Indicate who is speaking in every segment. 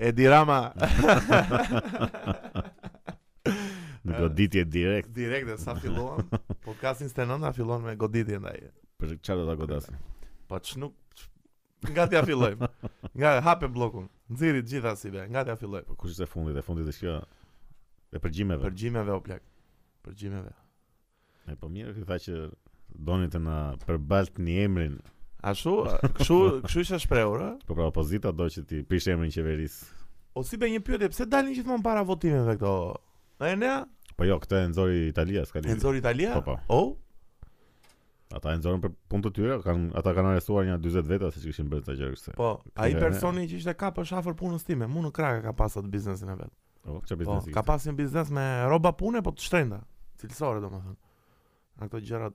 Speaker 1: Edi Rama
Speaker 2: Në goditje direkt
Speaker 1: direkt e sa filluam, po podcastin 29 na fillon me goditje ndaj.
Speaker 2: Për çfarë do ta godasim?
Speaker 1: Po ç'nuk nga t'ja fillojmë. Nga hape bllokun. Nxirri të gjitha si be, nga t'ja fillojmë.
Speaker 2: Po kush është e fundit? E fundit është kjo e përgjimeve.
Speaker 1: Përgjimeve o plak. Përgjimeve.
Speaker 2: E po mirë që tha që doni të na përbaltni emrin.
Speaker 1: Ashtu, kështu, kështu isha shprehur, ë?
Speaker 2: Po pra opozita do që ti prish emrin qeverisë.
Speaker 1: O si be një pyetje, pse dalin gjithmonë para votimeve këto? Na e nea,
Speaker 2: Po jo, këtë e nxori Italia, s'ka lidhje.
Speaker 1: Enzor Italia?
Speaker 2: Po, po.
Speaker 1: Oh,
Speaker 2: Ata e nxorën për punë të tyre, kanë ata kanë arrestuar një 40 veta siç kishin bërë këta gjëra kësaj.
Speaker 1: po. Ai
Speaker 2: Nga ne.
Speaker 1: personi që ishte kap është afër punës time, mu në kraka ka pasur atë biznesin e vet.
Speaker 2: Po, çfarë
Speaker 1: Po,
Speaker 2: biznesi?
Speaker 1: ka pasur një biznes me rroba pune, po të shtrenjta, cilësore domethënë. Ato gjërat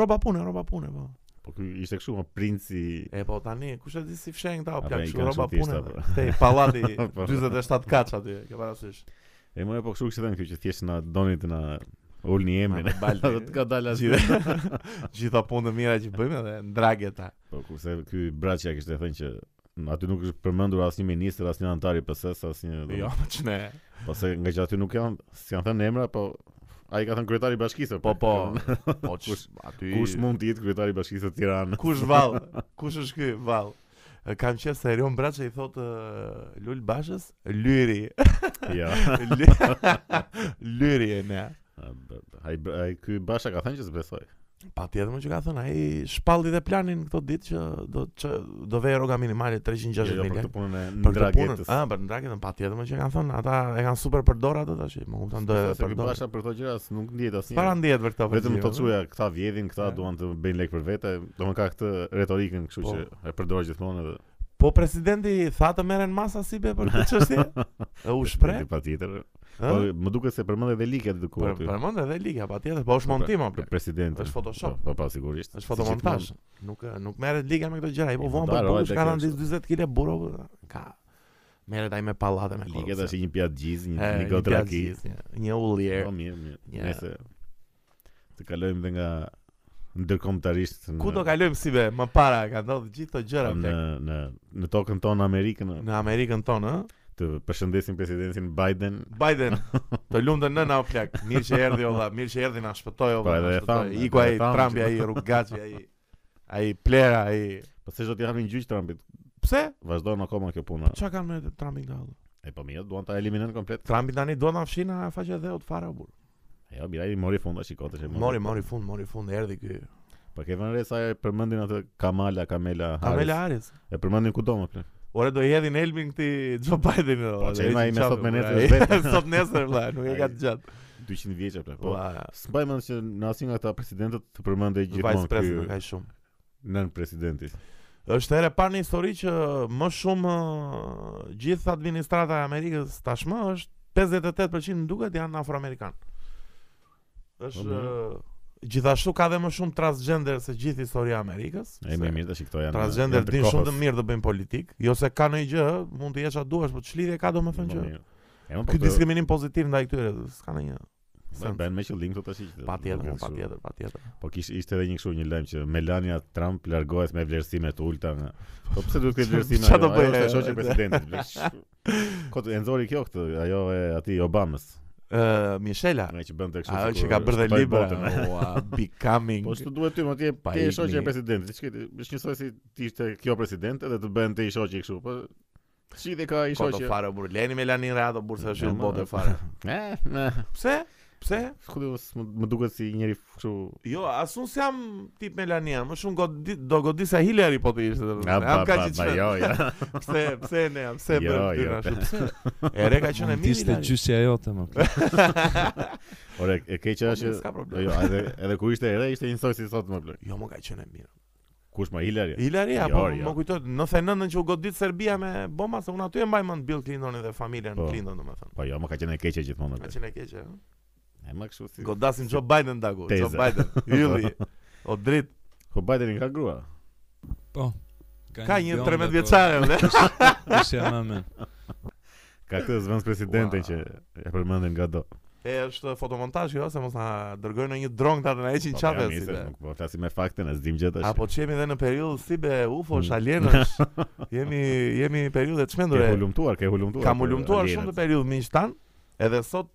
Speaker 1: rroba pune, rroba pune, po.
Speaker 2: Po ky ishte kështu, më princi
Speaker 1: E po tani, kush e di si fshen këta o
Speaker 2: Apo
Speaker 1: plak,
Speaker 2: i
Speaker 1: kështu
Speaker 2: kanë
Speaker 1: rroba
Speaker 2: shutista,
Speaker 1: pune.
Speaker 2: po.
Speaker 1: Te pallati
Speaker 2: Po.
Speaker 1: 47 kaç aty, ke parasysh.
Speaker 2: E më e po kështu kështë them kjo që thjesht na doni të na ulni emrin.
Speaker 1: Ma, balti.
Speaker 2: Do të ka dalë asgjë.
Speaker 1: Gjithë gjitha punët e mira që bëjmë edhe ndrageta.
Speaker 2: Po kurse ky Braçja kishte thënë që aty nuk është përmendur asnjë ministër, asnjë antar i PS-s, asnjë.
Speaker 1: Jo, më ç'ne.
Speaker 2: Po se nga që aty nuk janë, s'kan thënë emra, po ai ka thënë kryetari i bashkisë.
Speaker 1: Po po. Po ç-
Speaker 2: Kush-
Speaker 1: aty
Speaker 2: Kush mund të jetë kryetari i bashkisë të Tiranës?
Speaker 1: Kush vall? Kush është ky vall? E, Kam qenë se Erion Braça i thot uh, Lul Bashës, Lyri.
Speaker 2: Ja.
Speaker 1: Ly- Lyri e ne.
Speaker 2: A, b- b- Ai br- ai ky Basha ka thënë që s'besoj.
Speaker 1: Patjetër më që ka thënë ai shpalli dhe planin këto ditë që do që, do vej roga minimale 360
Speaker 2: Jo, jo, për
Speaker 1: milionë.
Speaker 2: këtë punën e
Speaker 1: Për këtë punën,
Speaker 2: ndragetës.
Speaker 1: ëh, për ndragetën patjetër më që kanë thënë, ata e kanë super përdor atë tash, më kupton do e
Speaker 2: Se ky
Speaker 1: përdor.
Speaker 2: Basha për këto gjëra s- nuk ndihet
Speaker 1: Para
Speaker 2: asnjë.
Speaker 1: ndihet për këtë
Speaker 2: Vetëm
Speaker 1: vëzhgim,
Speaker 2: të
Speaker 1: ëh.
Speaker 2: cuja këta vjedhin, këta
Speaker 1: Ja.
Speaker 2: duan të bëjnë lek për vete, domethënë ka këtë retorikën kështu
Speaker 1: Po.
Speaker 2: që e përdor gjithmonë edhe.
Speaker 1: Po presidenti tha të merren masa si be për këtë çështje? E u shpreh?
Speaker 2: Patjetër. Po
Speaker 1: ëh?
Speaker 2: më duket se përmend edhe liket të ku
Speaker 1: Për
Speaker 2: aty.
Speaker 1: përmend edhe liga patjetër, po
Speaker 2: Po,
Speaker 1: është
Speaker 2: pra-
Speaker 1: montim apo?
Speaker 2: Për presidentin.
Speaker 1: Është Photoshop.
Speaker 2: Po, Po pa sigurisht.
Speaker 1: Është
Speaker 2: Si
Speaker 1: fotomontazh.
Speaker 2: gjithmonë.
Speaker 1: Nuk eh, nuk merret liga me këto gjëra. Ai po
Speaker 2: I
Speaker 1: vonë po
Speaker 2: ndar,
Speaker 1: bukur,
Speaker 2: ojta
Speaker 1: ka
Speaker 2: kjo
Speaker 1: rënë
Speaker 2: është.
Speaker 1: 40 kg buro. Ka merret ai me pallate me
Speaker 2: Liket
Speaker 1: korrupsion.
Speaker 2: tash një pjatë gjiz, një,
Speaker 1: E,
Speaker 2: një gotë
Speaker 1: pjazë
Speaker 2: raki.
Speaker 1: gjithë, një- Një ullier.
Speaker 2: Po mirë, mirë.
Speaker 1: Ja.
Speaker 2: Nëse të kalojmë dhe nga ndërkombëtarisht në
Speaker 1: Ku do kalojmë si be? Më para ka ndodhur gjithë këto gjëra
Speaker 2: në
Speaker 1: plak.
Speaker 2: në në tokën tonë amerikën
Speaker 1: Në Amerikën tonë, ë?
Speaker 2: të përshëndesim presidentin Biden.
Speaker 1: Biden, të lumtën nëna o plak. Mirë që erdhi olla, mirë që erdhi na shpëtoi
Speaker 2: Po,
Speaker 1: olla.
Speaker 2: edhe
Speaker 1: na
Speaker 2: e thamë,
Speaker 1: shpëtoi.
Speaker 2: edhe
Speaker 1: Iku
Speaker 2: e
Speaker 1: ai
Speaker 2: thamë
Speaker 1: Trumpi
Speaker 2: që-
Speaker 1: ai rrugaçi ai. Ai plera ai.
Speaker 2: Po se do t'i japin gjyq Trumpit.
Speaker 1: Pse?
Speaker 2: Vazhdon akoma kjo puna.
Speaker 1: Çka kanë me Trumpin këta? olla?
Speaker 2: E po mirë, duan ta eliminojnë komplet.
Speaker 1: Trumpi tani do na fshin na faqe dheut fare o burr.
Speaker 2: Jo, mira, i mori fund tash i kotësh. e
Speaker 1: Mori, mori fund, mori fund, erdhi ky.
Speaker 2: Po ke vënë re sa e përmendin atë Kamala, Kamela, Harris.
Speaker 1: Kamela Harris.
Speaker 2: E përmendin kudo më plot.
Speaker 1: Ore do i hedhin Elmin këti Joe Biden
Speaker 2: Po, që ima i me sot me nesër vetë.
Speaker 1: Sot nesër vla, nuk e ka të gjatë
Speaker 2: 200 vjeçë plot. Po.
Speaker 1: Po,
Speaker 2: S'mbaj mend që në asnjë nga këta presidentët të përmendej
Speaker 1: vice
Speaker 2: gjithmonë
Speaker 1: president
Speaker 2: ky
Speaker 1: ka i shumë
Speaker 2: nën presidenti.
Speaker 1: është here parë një histori që më shumë ë, gjithë administrata e Amerikës tashmë është 58% më duket janë afroamerikan. Është
Speaker 2: Po, mirë.
Speaker 1: ë, gjithashtu ka dhe më shumë transgender se gjithë historia e Amerikës.
Speaker 2: Ai më
Speaker 1: se
Speaker 2: mirë tash këto janë.
Speaker 1: Transgender
Speaker 2: janë të
Speaker 1: din shumë
Speaker 2: kohës.
Speaker 1: të mirë të bëjnë politik, jo se ka ndonjë gjë, ë, mund të jesh atë duash, po ç'lidhje ka domethënë që
Speaker 2: mirë. E më po.
Speaker 1: Ky diskriminim pozitiv ndaj këtyre, s'ka ndonjë.
Speaker 2: Po bën me qëllim këto tash. që-
Speaker 1: Patjetër,
Speaker 2: nuk
Speaker 1: po,
Speaker 2: është kështu.
Speaker 1: patjetër, patjetër.
Speaker 2: Po kish ishte edhe një kështu një lajm që Melania Trump largohet me vlerësime të ulta nga. Po pse duhet këtë vlerësime?
Speaker 1: Çfarë do
Speaker 2: ajo? Ajo
Speaker 1: bëj,
Speaker 2: është
Speaker 1: e?
Speaker 2: e shoqja e presidentit. Kot e nxori kjo këtë, ajo e atij Obamës,
Speaker 1: Ë, Michela,
Speaker 2: nga që bënte kështu.
Speaker 1: ajo
Speaker 2: sikur
Speaker 1: që ka bërë dhe
Speaker 2: shpëtoi
Speaker 1: libra,
Speaker 2: botën.
Speaker 1: ua, becoming.
Speaker 2: Po ç'të duhet ty, më atje
Speaker 1: Pa
Speaker 2: ti je
Speaker 1: ikni.
Speaker 2: shoqja e presidentit. Ç'ke ti, është njësoj si ti ishte kjo presidente dhe të bën ti i shoqi kështu. Po si dhe ka i
Speaker 1: Koto
Speaker 2: shoqja.
Speaker 1: fare burr, leni me Lani Rado burr se është
Speaker 2: Ja,
Speaker 1: në
Speaker 2: ma-
Speaker 1: botë fare.
Speaker 2: Eh, ne.
Speaker 1: Pse? Pse?
Speaker 2: Kudo më më duket si njëri kështu.
Speaker 1: Jo, as unë s'jam tip Melania, më shumë godi, do godisa Hillary po të ishte.
Speaker 2: A,
Speaker 1: domethënë. Jam
Speaker 2: ba,
Speaker 1: ka
Speaker 2: ba, ba,
Speaker 1: gjithçka.
Speaker 2: Jo, jo.
Speaker 1: Pse, pse ne, pse
Speaker 2: Jo,
Speaker 1: bërë
Speaker 2: jo.
Speaker 1: dyna ashtu, pse? E re ka qenë e
Speaker 3: Mund
Speaker 1: mirë
Speaker 3: t'ishte
Speaker 1: Hillary.
Speaker 3: gjysja jote më.
Speaker 2: Ore, e keqja
Speaker 1: Po,
Speaker 2: është
Speaker 1: s'ka problem.
Speaker 2: që- Jo, edhe edhe kur ishte e re ishte njësoj si sot më plot.
Speaker 1: Jo, më ka qenë e mirë.
Speaker 2: Kush më Hillary?
Speaker 1: Hillary
Speaker 2: Jo,
Speaker 1: apo
Speaker 2: jo.
Speaker 1: më kujtohet 99-ën që u godit Serbia me bomba se unë aty e mbaj mend Bill Clintonin dhe familjen
Speaker 2: Po.
Speaker 1: Clinton domethënë.
Speaker 2: Po jo, më ka qenë e keqe gjithmonë.
Speaker 1: Ka
Speaker 2: atë.
Speaker 1: qenë e keqe. ëh?
Speaker 2: E më kështu si.
Speaker 1: Godasim Joe Biden dagu, Joe
Speaker 2: Teza.
Speaker 1: Biden, ylli. O drit,
Speaker 2: Po Bideni ka grua.
Speaker 3: Po.
Speaker 1: ka një 13
Speaker 3: bjonde, po,
Speaker 1: vjeçare, ne.
Speaker 3: Gjysja më më.
Speaker 2: Ka këtë zvend presidentin
Speaker 1: Ua.
Speaker 2: që e përmendin nga do.
Speaker 1: E është fotomontazh jo, se mos na dërgojnë në një dron këta të na heqin
Speaker 2: Po,
Speaker 1: qafe
Speaker 2: jam
Speaker 1: si
Speaker 2: nisë,
Speaker 1: be.
Speaker 2: Nuk po flasim me fakte, ne s'dim gjë tash.
Speaker 1: Apo që jemi dhe në periudhë si be UFO,
Speaker 2: Mm.
Speaker 1: alienësh. jemi jemi periudhë të
Speaker 2: ke
Speaker 1: çmendura.
Speaker 2: hulumtuar, ke hulumtuar.
Speaker 1: Kam
Speaker 2: për
Speaker 1: ulumtuar
Speaker 2: alienët.
Speaker 1: shumë të periudhë miq tan. Edhe sot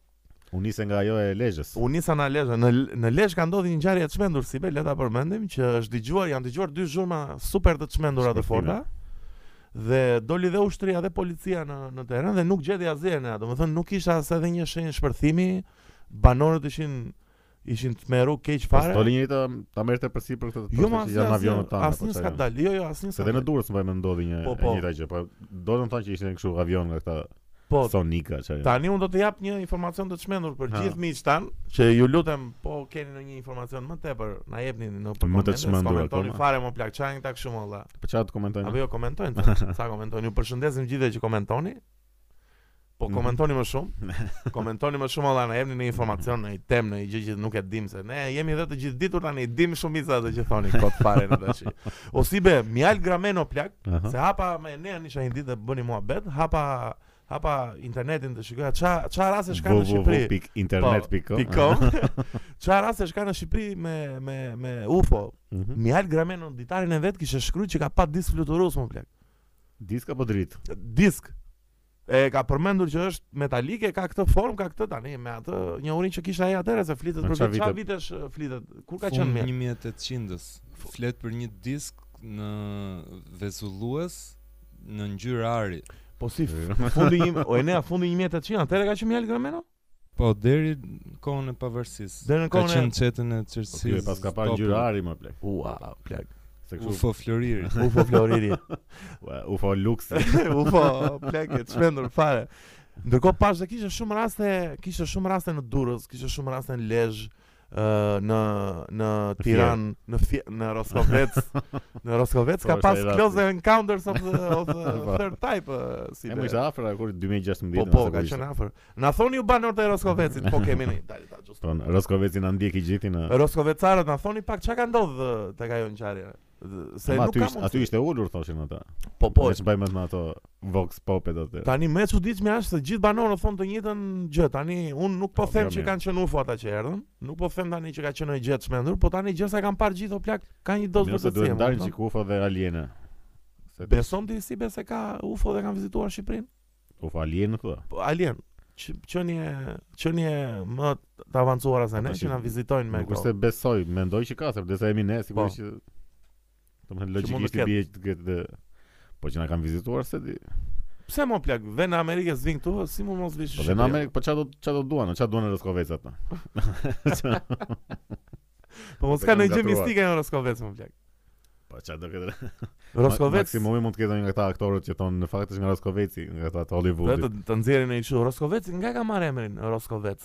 Speaker 2: U nise nga ajo e Lezhës.
Speaker 1: u nisa në Lezhë, në në Lezhë ka ndodhur një ngjarje e çmendur si be, le ta përmendim që është dëgjuar, janë dëgjuar dy zhurma super të çmendura të forta.
Speaker 2: Sportive.
Speaker 1: Dhe doli dhe ushtria dhe policia në në teren dhe nuk gjeti asgjë në, domethënë nuk ishte as edhe një shenjë shpërthimi. Banorët ishin ishin tmeru keq
Speaker 2: Po
Speaker 1: fare.
Speaker 2: doli njëri ta ta merrte përsi për këtë.
Speaker 1: Jo,
Speaker 2: thoshte
Speaker 1: ma
Speaker 2: që janë
Speaker 1: asnjë,
Speaker 2: në
Speaker 1: asnjë,
Speaker 2: avionet tanë.
Speaker 1: asnjë s'ka dalë. Jo, jo, asnjë
Speaker 2: Se
Speaker 1: s'ka
Speaker 2: dhe në
Speaker 1: dalë.
Speaker 2: Durrës më më ndodhi një
Speaker 1: Po,
Speaker 2: e
Speaker 1: po.
Speaker 2: njëjta gjë, po do të thonë që ishin kështu avion nga këta
Speaker 1: Po,
Speaker 2: Sonika çfarë.
Speaker 1: tani unë do të jap një informacion të çmendur për
Speaker 2: Ha.
Speaker 1: gjithë miqtë tan, që ju lutem po keni ndonjë informacion më tepër, na jepni në për
Speaker 2: Më të
Speaker 1: komente,
Speaker 2: çmendur
Speaker 1: s'komentoni
Speaker 2: akoma.
Speaker 1: fare më plak çajin tak shumë valla.
Speaker 2: Po çfarë të komentojnë?
Speaker 1: Apo jo komentojnë, ta, sa komentojnë, ju përshëndesim gjithë që komentoni. Po
Speaker 2: Mhm.
Speaker 1: komentoni më shumë. Komentoni më shumë valla, na jepni një informacion, në një temë, në një gjë që nuk e dim se ne jemi edhe të gjithë ditur tani, dim shumica atë që thoni kot fare në tash. Osibe, mjal grameno plak,
Speaker 2: Aha.
Speaker 1: Se hapa me ne anisha një ditë dhe bëni mua bet, hapa hapa internetin të shikoja ça ça raste shka në Shqipëri. Po,
Speaker 2: www.internet.com.
Speaker 1: Pikom. Ça raste shka në Shqipëri me me me UFO.
Speaker 2: Mhm.
Speaker 1: Mihal Grameno ditarin e vet kishte shkruajë që ka pa disk fluturues më plak.
Speaker 2: Disk apo dritë?
Speaker 1: Disk. E ka përmendur që është metalike, ka këtë formë, ka këtë tani me atë njohurin që kishte ai atëherë se flitet
Speaker 2: Në
Speaker 1: për
Speaker 2: qa
Speaker 1: çfarë
Speaker 2: vite?
Speaker 1: vitesh eh, flitet. Kur ka qenë
Speaker 3: Fund
Speaker 1: mirë?
Speaker 3: 1800-s. Flet për një disk në vezullues në ngjyrë ari.
Speaker 1: Po si fundi një, o e nea fundi 1800, atëherë ka qenë Mihal Grameno?
Speaker 3: Po deri në kohën e pavarësisë.
Speaker 1: Deri në kohën e-
Speaker 3: e qenë çetën e
Speaker 2: Po ky
Speaker 3: çersis.
Speaker 2: e pas ka parë ngjyrë ari më plek.
Speaker 1: Ua, plak.
Speaker 2: Se kështu
Speaker 3: UFO Floriri.
Speaker 1: UFO Floriri.
Speaker 2: ua, UFO luks.
Speaker 1: UFO plakë të po, shmendur fare. Ndërkohë pash dhe kishte shumë raste, kishte shumë raste në Durrës, kishte shumë raste në Lezhë, ë, në në Tiranë, në Fie, në Roskovec. Në Roskovec
Speaker 2: Po,
Speaker 1: ka
Speaker 2: është
Speaker 1: pas
Speaker 2: ai rasti.
Speaker 1: close encounters of the, of the
Speaker 2: Po.
Speaker 1: third type ë, si.
Speaker 2: E
Speaker 1: be.
Speaker 2: më ishte afër kur 2016.
Speaker 1: Po po, ka qenë afër. Na thoni ju banorët e Roskovecit, po kemi ne, dali ta gjust.
Speaker 2: Ton Roskoveci na ndjeki gjithë në
Speaker 1: Roskovectarët na thoni pak çka ka ndodhur ë, tek ajo ngjarje. Ë, Se
Speaker 2: Ama
Speaker 1: nuk
Speaker 2: aty
Speaker 1: ka
Speaker 2: ishte- aty
Speaker 1: mundësi.
Speaker 2: ishte ulur thoshin ata. Po,
Speaker 1: Po po,
Speaker 2: veç bëjmë me ato Vox Popet atë.
Speaker 1: Tani më e çuditshme është se gjithë banorët thonë të njëjtën gjë. Tani unë nuk po
Speaker 2: Po,
Speaker 1: them
Speaker 2: mirë,
Speaker 1: që
Speaker 2: mirë.
Speaker 1: kanë qenë UFO ata që erdhën, nuk po them tani që ka qenë një gjë të çmendur, po tani gjësa kanë parë gjithë o plak, ka një dozë
Speaker 2: Mirë se duhet
Speaker 1: vërtetësie.
Speaker 2: ndarën
Speaker 1: më kupton?
Speaker 2: Çikufa dhe Aliena. Se bes
Speaker 1: Beson ti si bese ka UFO dhe kanë vizituar Shqipërinë?
Speaker 2: UFO Alien thua.
Speaker 1: Po alien, q- qenie qenie më të avancuara se
Speaker 2: Po,
Speaker 1: ne që
Speaker 2: që-
Speaker 1: na vizitojnë me
Speaker 2: Nuk
Speaker 1: këto.
Speaker 2: është se besoj, mendoj që ka, sepse sa jemi ne sigurisht që domethënë
Speaker 1: Që mund të
Speaker 2: logjikisht i
Speaker 1: ketë.
Speaker 2: bie që këtë po që na kanë vizituar se di. Po,
Speaker 1: Pse më plak, dhe në Amerikë s'vin këtu, si mund mos vish.
Speaker 2: Po dhe në Amerikë, po çfarë do çfarë do duan, çfarë duan Roskovecët ata?
Speaker 1: Po mos
Speaker 2: Dhe
Speaker 1: ka
Speaker 2: kanë
Speaker 1: ndonjë gjë
Speaker 2: gatuar.
Speaker 1: mistike në Roskovec më plak.
Speaker 2: Po çfarë do këtë?
Speaker 1: Roskovec
Speaker 2: maksimumi mund të ketë një nga këta aktorët që thonë në fakt është nga Roskoveci, nga ata të
Speaker 1: Dhe të,
Speaker 2: Hollywoodit.
Speaker 1: të nxjerrin në një çu Roskovec, nga ka marrë emrin Roskovec?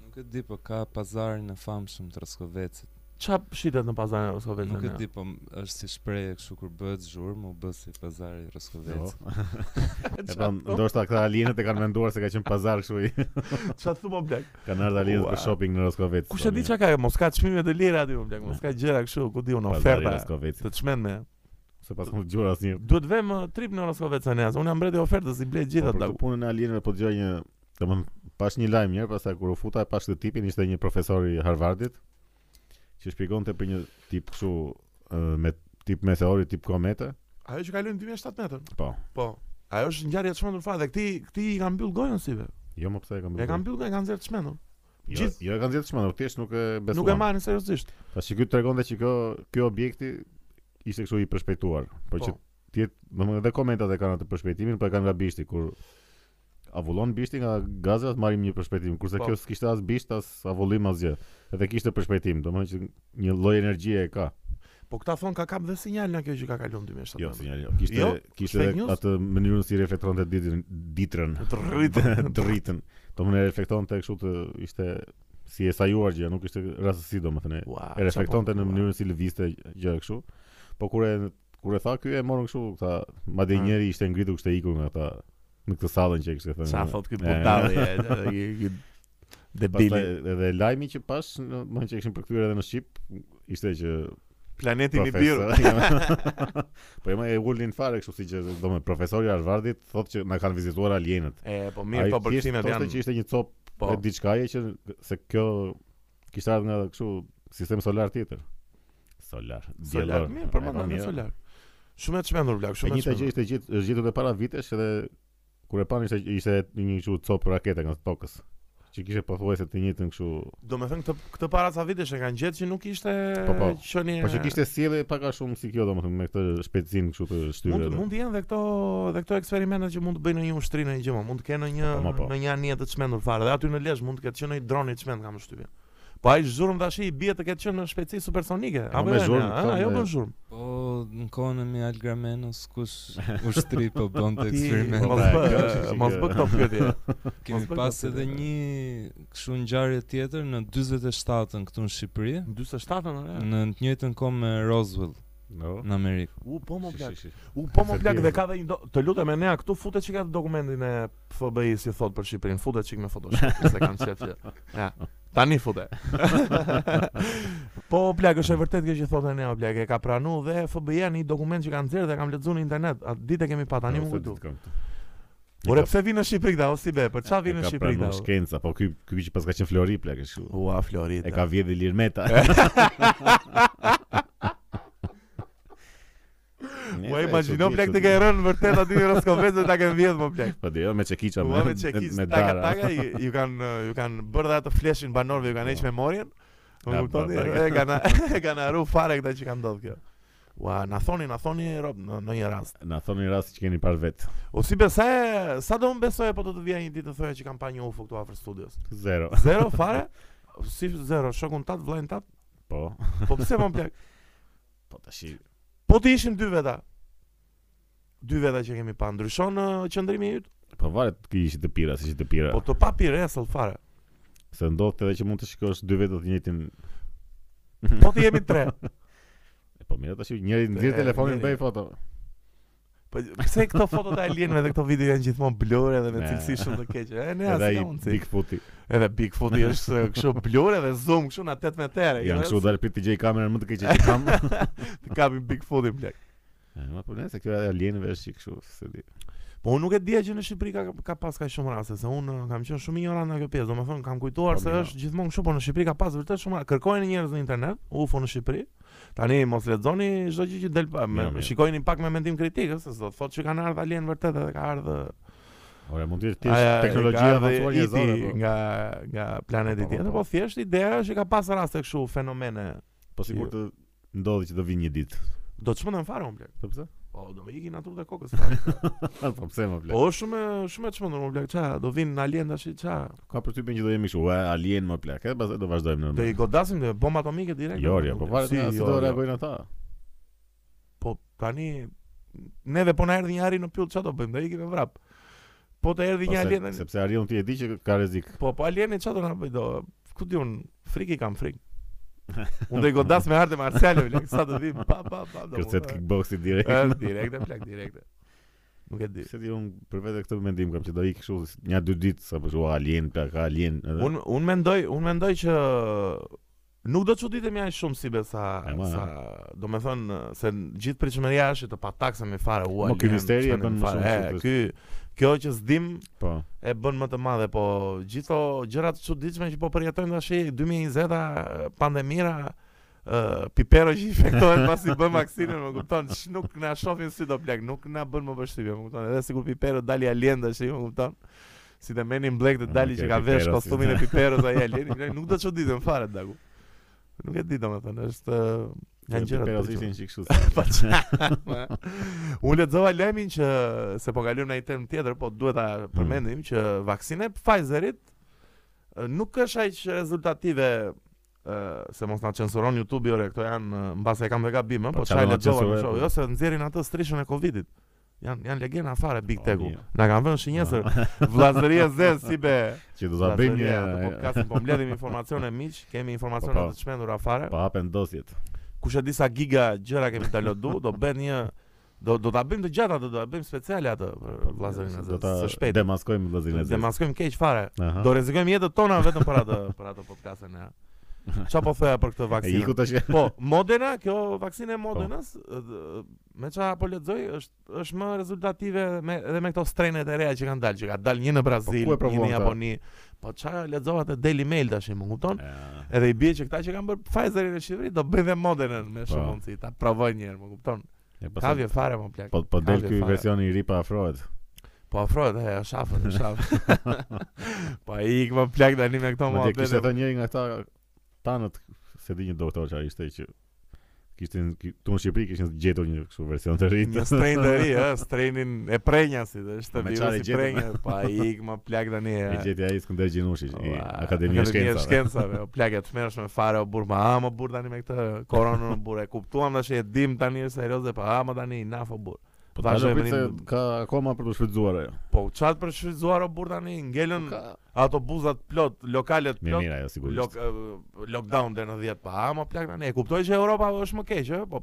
Speaker 3: Nuk e di, po ka pazarin e famshëm të Roskovecit.
Speaker 1: Qa shitet në pazarin e Roskovecit?
Speaker 3: Nuk e
Speaker 1: ne?
Speaker 3: di, po m- është si shprehje kështu kur bëhet zhurmë, u bë si pazari i
Speaker 2: Jo.
Speaker 3: Roskovecit.
Speaker 2: E pra, ndoshta këta alienët e kanë menduar se ka qenë pazar kështu i
Speaker 1: Qa të thumë blek?
Speaker 2: kanë ardhur alienët për
Speaker 1: Ua.
Speaker 2: shopping në Roskovec.
Speaker 1: Kush e di çka ka, mos ka çmime të lira aty më blek, mos ka gjëra kështu, ku di unë oferta
Speaker 2: Roskovecit.
Speaker 1: të çmend me.
Speaker 2: Sepse nuk dëgjoj asnjë
Speaker 1: Duhet vëm uh, trip në Roskovec ne, unë jam mbreti ofertës i blej gjithë
Speaker 2: Po, Për
Speaker 1: atë.
Speaker 2: këtë punën e alienëve po dëgjoj një, domethënë pash një lajm njëherë, pastaj kur u futa e pash këtë tipin, ishte një profesor i Harvardit që shpjegonte për një tip kështu ë, me tip meteori, tip komete.
Speaker 1: Ajo që ka lënë 2007 metër.
Speaker 2: Po.
Speaker 1: Po. Ajo është ngjarje e çmendur fare dhe këti këti i ka mbyll gojën si be.
Speaker 2: Jo më pse e kam.
Speaker 1: E ka mbyll gojën, e ka nxjerr të çmendur.
Speaker 2: Jo,
Speaker 1: gjithë-
Speaker 2: jo e kanë zgjedhur çmendur, thjesht nuk e besuan.
Speaker 1: Nuk e marrin seriozisht.
Speaker 2: Tash ky tregonte që kjo ky objekti ishte kështu i përshpejtuar, po,
Speaker 1: Po.
Speaker 2: që ti domethënë edhe komentat e kanë atë përshpejtimin, po e kanë nga bishti kur avullon bishti nga gazet marrim një përshpejtim, kurse
Speaker 1: Po.
Speaker 2: kjo s'kishte as bisht as avullim asgjë. Edhe kishte përshpejtim, domethënë që një lloj energjie e ka.
Speaker 1: Po këta thon ka kap dhe sinjal nga kjo që ka kaluar 2007
Speaker 2: Jo,
Speaker 1: metër.
Speaker 2: sinjal, jo. Kishte
Speaker 1: Jo,
Speaker 2: kishte
Speaker 1: fake
Speaker 2: edhe
Speaker 1: news?
Speaker 2: atë mënyrën si reflektonte ditën ditën.
Speaker 1: Të rritën.
Speaker 2: dritën. Domethënë reflektonte kështu të ishte si e sajuar gjë, nuk ishte rastësi domethënë
Speaker 1: Ua,
Speaker 2: e reflektonte
Speaker 1: qa po,
Speaker 2: në
Speaker 1: ua.
Speaker 2: mënyrën si lëvizte gjëra kështu. Po kur e kur e tha ky e morën kështu, tha madje
Speaker 1: Ha.
Speaker 2: njëri ishte ngritur kështu e ikur nga ata në këtë sallën që e kishte thënë.
Speaker 1: Sa thot ky
Speaker 2: E,
Speaker 1: budalli, e, e, e, e,
Speaker 2: Pastaj
Speaker 1: debili.
Speaker 2: edhe lajmi që pash, në më që e kishin përkthyer edhe në shqip, ishte që
Speaker 1: Planeti i birë.
Speaker 2: profesor. po jema e ulin fare kështu si që do me profesori i Harvardit thotë që na kanë vizituar alienët.
Speaker 1: E, po mirë, po
Speaker 2: thjesht
Speaker 1: përkthimet
Speaker 2: thoshte
Speaker 1: janë.
Speaker 2: që ishte një cop
Speaker 1: Po.
Speaker 2: e diçka e që se kjo kishte ardhur nga kështu sistem solar tjetër. Solar,
Speaker 1: Solar,
Speaker 2: diellor.
Speaker 1: mirë,
Speaker 2: E,
Speaker 1: përmendëm
Speaker 2: po,
Speaker 1: me
Speaker 2: mirë.
Speaker 1: solar. Shumë e çmendur vlog,
Speaker 2: E
Speaker 1: shumë e
Speaker 2: njëjta gjë
Speaker 1: çmendur.
Speaker 2: ishte gjithë është gjetur edhe para vitesh edhe kur e pan ishte ishte një kështu cop rakete nga tokës. Që kishte pothuajse të njëjtën kështu,
Speaker 1: Do me thënë këtë, këtë para ca vitesh e kanë gjetë që nuk ishte
Speaker 2: Po, po.
Speaker 1: qenie.
Speaker 2: po që kishte sjellje pak a shumë si kjo domethënë me këtë shpejtësinë kështu të shtyrë.
Speaker 1: mund
Speaker 2: edhe.
Speaker 1: mund të jenë dhe këto dhe këto eksperimente që mund të bëjnë në një ushtri në një gjë, mo, mund të kenë në një
Speaker 2: Po, ma, po.
Speaker 1: në një anije të çmendur fare. Dhe aty në Lezhë mund të ketë qenë një dron i çmend kam shtypjen. Po ai zhurmë tash i bie të ketë qenë në shpejtësi supersonike. Apo
Speaker 2: Po, me
Speaker 1: jo,
Speaker 2: zhurmë,
Speaker 1: na,
Speaker 2: këto
Speaker 1: a, ajo
Speaker 2: me-
Speaker 1: bën zhurmë.
Speaker 3: Po, në kohën e me Algramenos, kush ushtri po
Speaker 1: Ti-
Speaker 3: bënte eksperiment.
Speaker 1: Mos
Speaker 2: Po, pra, kjo është
Speaker 1: bë,
Speaker 2: që-
Speaker 1: mos bë këto pyetje.
Speaker 3: Kemi
Speaker 1: mos bëj
Speaker 3: pas
Speaker 1: këtë
Speaker 3: edhe
Speaker 1: pyetje.
Speaker 3: një kështu ngjarje tjetër në 47-ën këtu në Shqipëri,
Speaker 1: Në 47-ën
Speaker 2: Mm.
Speaker 1: ore.
Speaker 3: në të njëjtën kohë me Roswell
Speaker 2: No.
Speaker 3: në Amerikë.
Speaker 1: U po më
Speaker 2: Shi,
Speaker 1: plak.
Speaker 2: shi, shi.
Speaker 1: U po më
Speaker 2: Se
Speaker 1: plak
Speaker 2: ti-
Speaker 1: dhe ka dhe një do... të lutem Enea këtu futet çka të dokumentin e FBI si thot për Shqipërinë, futet çik me Photoshop, se kam qef që. Ja. Tani fute. po plak është e vërtet kjo që thotë Enea plak, e ka pranuar dhe FBI një dokument që kanë nxjerrë dhe kam lexuar në internet. Atë ditë e kemi pa tani
Speaker 2: Jo,
Speaker 1: më
Speaker 2: se
Speaker 1: kujtu.
Speaker 2: ditë kam këtë.
Speaker 1: Ore
Speaker 2: E ka-
Speaker 1: pse vinë në Shqipëri këta, o si be, për çfarë
Speaker 2: e
Speaker 1: vinë
Speaker 2: ka
Speaker 1: në Shqipëri
Speaker 2: pranuar
Speaker 1: këta?
Speaker 2: Shkenca, po ky ky që pas ka qenë Flori plak është kështu.
Speaker 1: Ua Florida.
Speaker 2: E ka vjedhë Ilir Meta.
Speaker 1: Ua imagjino Po, plak të ke rënë vërtet aty në Roskovec dhe ta ke vjedh më plak.
Speaker 2: Po dhe jo me çekiça me
Speaker 1: Ua me çekiz,
Speaker 2: me
Speaker 1: taka
Speaker 2: dara.
Speaker 1: taka ju ju kanë ju kanë bërë dhe atë fleshin banorëve, ju kanë heq memorien.
Speaker 2: Ja,
Speaker 1: Më kuptoni?
Speaker 2: po, po.
Speaker 1: E kanë e kanë haru fare këta që kanë ndodhur kjo. Ua, na thoni, na thoni rob në në një rast.
Speaker 2: Na thoni rast që keni parë vet.
Speaker 1: O si besa, sa do më besoje po do të vija një ditë të thoja që kam pa një UFO këtu afër studios.
Speaker 2: Zero.
Speaker 1: Zero fare? Si zero, shokun tat, vllajën tat.
Speaker 2: Po.
Speaker 1: Po pse më plak?
Speaker 2: Po tash i-
Speaker 1: Po të ishim dy veta. Dy veta që kemi pa ndryshon ë, qëndrimi i yt.
Speaker 2: po varet ki ishi të pira, si ishi të pira.
Speaker 1: Po të papi resell fare.
Speaker 2: Se ndodhte edhe që mund të shikosh dy vetë të njëjtin.
Speaker 1: Po të jemi tre.
Speaker 2: Po mirë tash i- njëri nxjerr
Speaker 1: E,
Speaker 2: telefonin
Speaker 1: njëri.
Speaker 2: bëj foto.
Speaker 1: Po pse këto foto të alienëve dhe këto video janë gjithmonë blurë edhe me
Speaker 2: Ne.
Speaker 1: cilësi shumë të keqe. E ne as
Speaker 2: Edhe
Speaker 1: ka
Speaker 2: ai
Speaker 1: mundsi.
Speaker 2: Bigfooti.
Speaker 1: Edhe Bigfooti është eh, kështu blurë edhe zoom kështu na 18 herë.
Speaker 2: Janë kështu dalë prit të gjej kamerën më të keqe që kam.
Speaker 1: Të kapi Bigfooti plak.
Speaker 2: E, Ma po nëse kjo e alienëve është që kështu, se di.
Speaker 1: Po unë nuk e dija që në Shqipëri ka ka pas kaq shumë raste, se unë eh, kam qenë shumë ignorant nga kjo pjesë. Domethënë kam kujtuar
Speaker 2: Po,
Speaker 1: se
Speaker 2: mirë.
Speaker 1: është gjithmonë kështu, por në Shqipëri ka pas vërtet shumë. ra- Kërkojnë njerëz në internet, UFO në Shqipëri. Tani mos lexoni çdo gjë që del pa, me,
Speaker 2: Mirë, mirë.
Speaker 1: shikojini pak me mendim kritik, ëh, se do të thotë që kanë ardhur alien vërtet edhe ka ardhur
Speaker 2: Ora mund të jetë thjesht
Speaker 1: Aja,
Speaker 2: teknologjia
Speaker 1: ka
Speaker 2: avancuar
Speaker 1: dhe
Speaker 2: njerëzore.
Speaker 1: iti
Speaker 2: po.
Speaker 1: nga nga planeti
Speaker 2: Po, po,
Speaker 1: tjetër,
Speaker 2: po.
Speaker 1: po thjesht ideja është që ka pas raste kështu fenomene.
Speaker 2: Po sigur të ndodhi që do vinë një ditë.
Speaker 1: Do të çmendem fare unë blek.
Speaker 2: Po pse?
Speaker 1: Po do më ikin natyrë dhe kokës fare.
Speaker 2: Po pse më blet?
Speaker 1: po është shumë e- shumë e çmendur unë blek, ç'a do vinë alien tash ç'a.
Speaker 2: Ka për typin që do jemi kështu, "Ua, alien më plak." E pastaj do vazhdojmë
Speaker 1: Do
Speaker 2: normal.
Speaker 1: i godasim me bomba atomike direkt.
Speaker 2: Jo, jo, po varet
Speaker 1: Si,
Speaker 2: nga si
Speaker 1: jo,
Speaker 2: do
Speaker 1: jo.
Speaker 2: reagojnë ata.
Speaker 1: Po tani neve po na erdhi një ari në pyll ç'a do bëjmë? Do ikim me vrap. Po të erdhi
Speaker 2: Po,
Speaker 1: një
Speaker 2: se-
Speaker 1: alien. tani-
Speaker 2: Sepse Arion ti e di që ka rrezik.
Speaker 1: Po po alieni ç'a do na bëj do? Ku di un, friki kam frik. Unë do i godas me arte marciale blek, sa do vi pa pa pa. do
Speaker 2: Kërcet
Speaker 1: më-
Speaker 2: kickboxi direkt.
Speaker 1: Është direkte, plak direkte. Nuk e di.
Speaker 2: Se ti un për vetë këtë mendim kam që do ik kështu si- një dy ditë sa për shkak alien, plak ka alien. Edhe.
Speaker 1: Un un mendoj, un mendoj që nuk do të çuditemi aq shumë si besa
Speaker 2: E, ma,
Speaker 1: sa, do të thënë se gjithë pritshmëria është të pataksa me fare u.
Speaker 2: Mo, ky misteri e bën më shumë
Speaker 1: E,
Speaker 2: shumë
Speaker 1: ky kjo që s'dim
Speaker 2: po.
Speaker 1: e bën më të madhe, po gjitho gjërat të çuditshme që po përjetojmë tash 2020-a pandemira Uh, pipero që infektohet pasi bën vaksinën, më kupton? sh- Nuk na shohin si do plak, nuk na bën më vështirë, më kupton? Edhe sikur pipero dali alien tash, më kupton? Si të Men in Black të dali
Speaker 2: Ok,
Speaker 1: që ka
Speaker 2: Pipero,
Speaker 1: vesh
Speaker 2: si-
Speaker 1: kostumin e piperos ai alien, plak, nuk do të çuditëm fare daku. Nuk e di domethënë, është uh, janë gjëra të
Speaker 2: perozishin që
Speaker 1: tjera.
Speaker 2: kështu.
Speaker 1: Pa qa- ma. Unë lexova lajmin që se po kalojmë në një term tjetër, po duhet
Speaker 2: Hmm.
Speaker 1: ta përmendim që vaksina e Pfizerit e, nuk është aq rezultative ë se mos na censuron YouTube ore, këto janë e, mbase e kam dhe gabime,
Speaker 2: Po
Speaker 1: po
Speaker 2: çfarë
Speaker 1: çaj
Speaker 2: do na
Speaker 1: lexova në
Speaker 2: censurojnë,
Speaker 1: show,
Speaker 2: po?
Speaker 1: jo se nxjerrin atë strishën e Covidit. Jan janë legjenda fare Big
Speaker 2: Po,
Speaker 1: Teku.
Speaker 2: mirë.
Speaker 1: Na kanë vënë shinjesër vllazëria zez si be.
Speaker 2: Që do ta bëjmë
Speaker 1: Vllazëria, atë
Speaker 2: një
Speaker 1: podcastin po mbledhim informacione miq, kemi informacione
Speaker 2: Po, po.
Speaker 1: të çmendura fare
Speaker 2: pa hapen dosjet.
Speaker 1: kush e di sa giga gjëra kemi ta lodu, do bën një do do ta bëjmë të gjatë atë, do ta bëjmë speciale atë për vllazërinë
Speaker 2: do
Speaker 1: atë.
Speaker 2: ta
Speaker 1: Po, Së shpejti.
Speaker 2: demaskojmë vllazërin e zezë.
Speaker 1: Demaskojmë keq fare.
Speaker 2: Aha.
Speaker 1: Do rrezikojmë jetët tona vetëm për atë për atë podcastin e. Çfarë po thoya për këtë
Speaker 2: E
Speaker 1: vaksinën?
Speaker 2: iku tash.
Speaker 1: Po, Moderna, kjo
Speaker 2: Po.
Speaker 1: vaksina e Modernas, ë, me çfarë po lexoj, është është më rezultative me edhe me këto strenet e reja që kanë dalë, që ka dalë një në
Speaker 2: Po, ku
Speaker 1: Brazil,
Speaker 2: e provon
Speaker 1: një në
Speaker 2: ta?
Speaker 1: Japoni, Po çfarë lexova te Daily Mail tash, më kupton?
Speaker 2: Ja.
Speaker 1: Edhe i bie që këta që kanë bërë Pfizerin në Shqipëri do bëjnë dhe modelën me
Speaker 2: Po.
Speaker 1: shumë mundësi, ta provojnë një herë, më kupton?
Speaker 2: E
Speaker 1: Ka
Speaker 2: pastaj
Speaker 1: vje fare më plak.
Speaker 2: po po del
Speaker 1: Ka vje
Speaker 2: ky
Speaker 1: fare.
Speaker 2: versioni i ri pa afrohet.
Speaker 1: Po afrohet, e është afër, është afër. po i ik më plak tani me këto
Speaker 2: Madje kishte
Speaker 1: modelë.
Speaker 2: thënë njëri nga këta tanët se di një doktor çfarë ishte që kishte në- ki- tu në Shqipëri kishin gjetur një kështu version të ri.
Speaker 1: Një strain të ri, ë, strainin e prenjasit, është
Speaker 2: Me çfarë e
Speaker 1: virusi i
Speaker 2: gjetëm?
Speaker 1: prenjas, po ai ik më plak tani. e.
Speaker 2: E gjeti ai Skënder Gjinushi i
Speaker 1: Ua,
Speaker 2: Akademia e
Speaker 1: Akademia e
Speaker 2: Shkencave.
Speaker 1: Shkencave. O plagë të shmershme fare o burr, ma ha, më burr tani me këtë koronën o burr. E kuptuam tash e dim tani është serioze, pa ha, më tani naf o burr.
Speaker 2: Po ta
Speaker 1: Vazhdojmë
Speaker 2: lëpit se
Speaker 1: rinë.
Speaker 2: ka akoma për të shfrytzuar ajo.
Speaker 1: Po u çat për shfrytzuar o burr tani, ngelën ato buzat plot, lokalet
Speaker 2: Mirë
Speaker 1: plot.
Speaker 2: mirë ajo sigurisht.
Speaker 1: Lok, eh, lockdown deri në 10 pa ha, më plak tani. E kuptoj që Europa është më keq, ë, po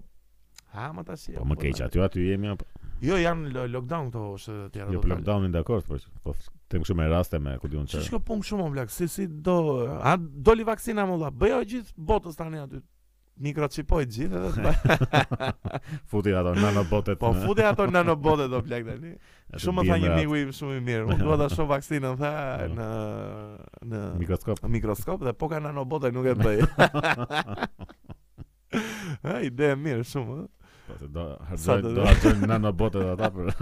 Speaker 1: ha, më tash.
Speaker 2: Po më keq aty aty jemi apo
Speaker 1: Jo, janë lo- lockdown këto është të tjera.
Speaker 2: jo
Speaker 1: do
Speaker 2: për
Speaker 1: t'falë.
Speaker 2: lockdownin dakord po po them kështu me raste me ku diun
Speaker 1: Që
Speaker 2: çfarë.
Speaker 1: shko punë shumë o blak, si si do... A doli vaksina më dha, bëjo gjithë botës tani aty. Mikrochipoj gjithë edhe të bëj-
Speaker 2: Futi ato nano botet.
Speaker 1: Po fute ato nanobote do plak tani. Shumë më tha një
Speaker 2: miku
Speaker 1: miku im shumë i mirë. Unë dua ta shoh vaksinën tha
Speaker 2: Po.
Speaker 1: në në
Speaker 2: mikroskop.
Speaker 1: në mikroskop dhe po ka nanobote nuk e bëj. Ha, ide e mirë shumë. ë.
Speaker 2: Po se do
Speaker 1: Sa
Speaker 2: harxojnë
Speaker 1: të-
Speaker 2: do harxojnë nano botet ata për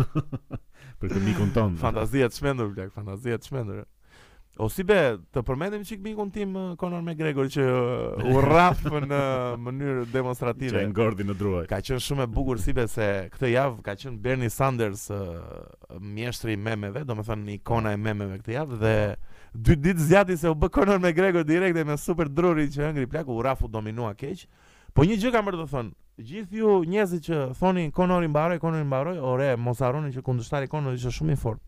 Speaker 2: për këtë mikun ton.
Speaker 1: Fantazia të çmendur plak, fantazia të çmendur. O si be, të përmendim çik mikun tim ë, Conor McGregor që ë, u rraf në mënyrë
Speaker 2: që
Speaker 1: demonstrative.
Speaker 2: e ngordi në druaj.
Speaker 1: Ka qenë shumë e bukur sibe se këtë javë ka qenë Bernie Sanders ë, mjeshtri i memeve, domethënë ikona e memeve këtë javë dhe dy ditë zjati se u bë Conor McGregor direkt e me super druri që ëngri plak u rafu dominua keq. Po një gjë kam për të thënë, gjithë ju njerëzit që thoni Conor i mbaroi, Conor i mbaroi, ore, mos harroni që kundërshtari i Conor ishte shumë i fortë.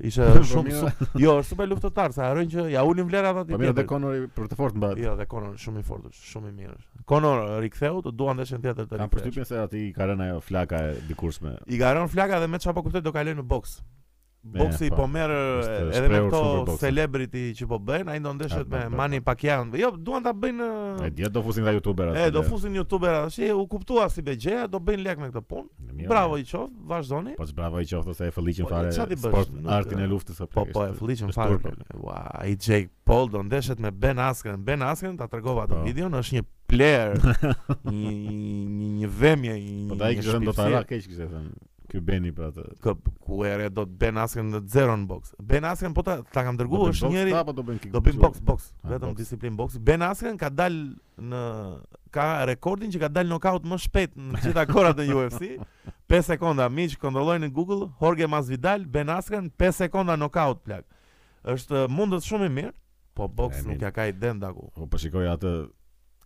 Speaker 1: Ishte shumë
Speaker 2: mirë.
Speaker 1: su, jo, është super luftëtar, sa harrojnë që ja ulin vlerat aty.
Speaker 2: Po mirë dhe
Speaker 1: tjetrit.
Speaker 2: Conori për të fortë mbahet.
Speaker 1: Jo, dhe Conor shumë i fortë, është, shumë i mirë. është. Conor riktheu, të duan ndeshën tjetër të
Speaker 2: Kam
Speaker 1: rikthesh.
Speaker 2: përshtypjen se aty i ka rënë ajo flaka e dikurshme.
Speaker 1: I garon flaka dhe me çfarë po kuptoj do kaloj në boks. Boksi
Speaker 2: po.
Speaker 1: po merr
Speaker 2: Është
Speaker 1: edhe me
Speaker 2: shprehur shumë për
Speaker 1: këto
Speaker 2: boksin.
Speaker 1: celebrity që po bëjnë, ai do ndeshet
Speaker 2: Ah,
Speaker 1: me
Speaker 2: po, po,
Speaker 1: Manny Pacquiao. Jo, duan ta bëjnë
Speaker 2: E pra, dia do fusin nga youtuberat.
Speaker 1: Ah. E do fusin youtuber tash, u kuptua si begjeja, do bëjnë lek me këtë punë.
Speaker 2: Jo,
Speaker 1: Bravo i qof, vazhdoni.
Speaker 2: Po që bravo i qoftë se e fëlliqin
Speaker 1: Po,
Speaker 2: fare
Speaker 1: çfarë ti bësh?
Speaker 2: sport,
Speaker 1: Nuk-
Speaker 2: artin e luftës apo
Speaker 1: Po po e fliqën
Speaker 2: është
Speaker 1: fare.
Speaker 2: turp,
Speaker 1: plak. Ua, ai Jake Paul do ndeshet me Ben Askren. Ben Askren ta tregova atë
Speaker 2: Po.
Speaker 1: videon, është një player, një një një vëmje, një
Speaker 2: Po ta i
Speaker 1: një
Speaker 2: kishte thënë do ta
Speaker 1: shpirtësie.
Speaker 2: ra keq kishte thënë. Ky Beni për atë.
Speaker 1: Kë- ku ere do të Ben Askren në zero në boks. Ben Askren po ta ta kam
Speaker 2: Do
Speaker 1: dërguar,
Speaker 2: bëjnë
Speaker 1: është
Speaker 2: boks
Speaker 1: njëri
Speaker 2: ta, apo do bëjnë kick?
Speaker 1: Do bëjmë boks, boks,
Speaker 2: Ah,
Speaker 1: vetëm
Speaker 2: boks.
Speaker 1: disiplinë boksi. Ben Askren ka dal në ka rekordin që ka dal knockout më shpejt në të gjitha korat e UFC. 5 sekonda, miq, kontrollojnë në Google Jorge Masvidal, Ben Askren 5 sekonda knockout plak. Është mundet shumë i mirë, po boks
Speaker 2: E,
Speaker 1: nuk
Speaker 2: mirë.
Speaker 1: ja ka i dëm daku.
Speaker 2: Po po shikoj atë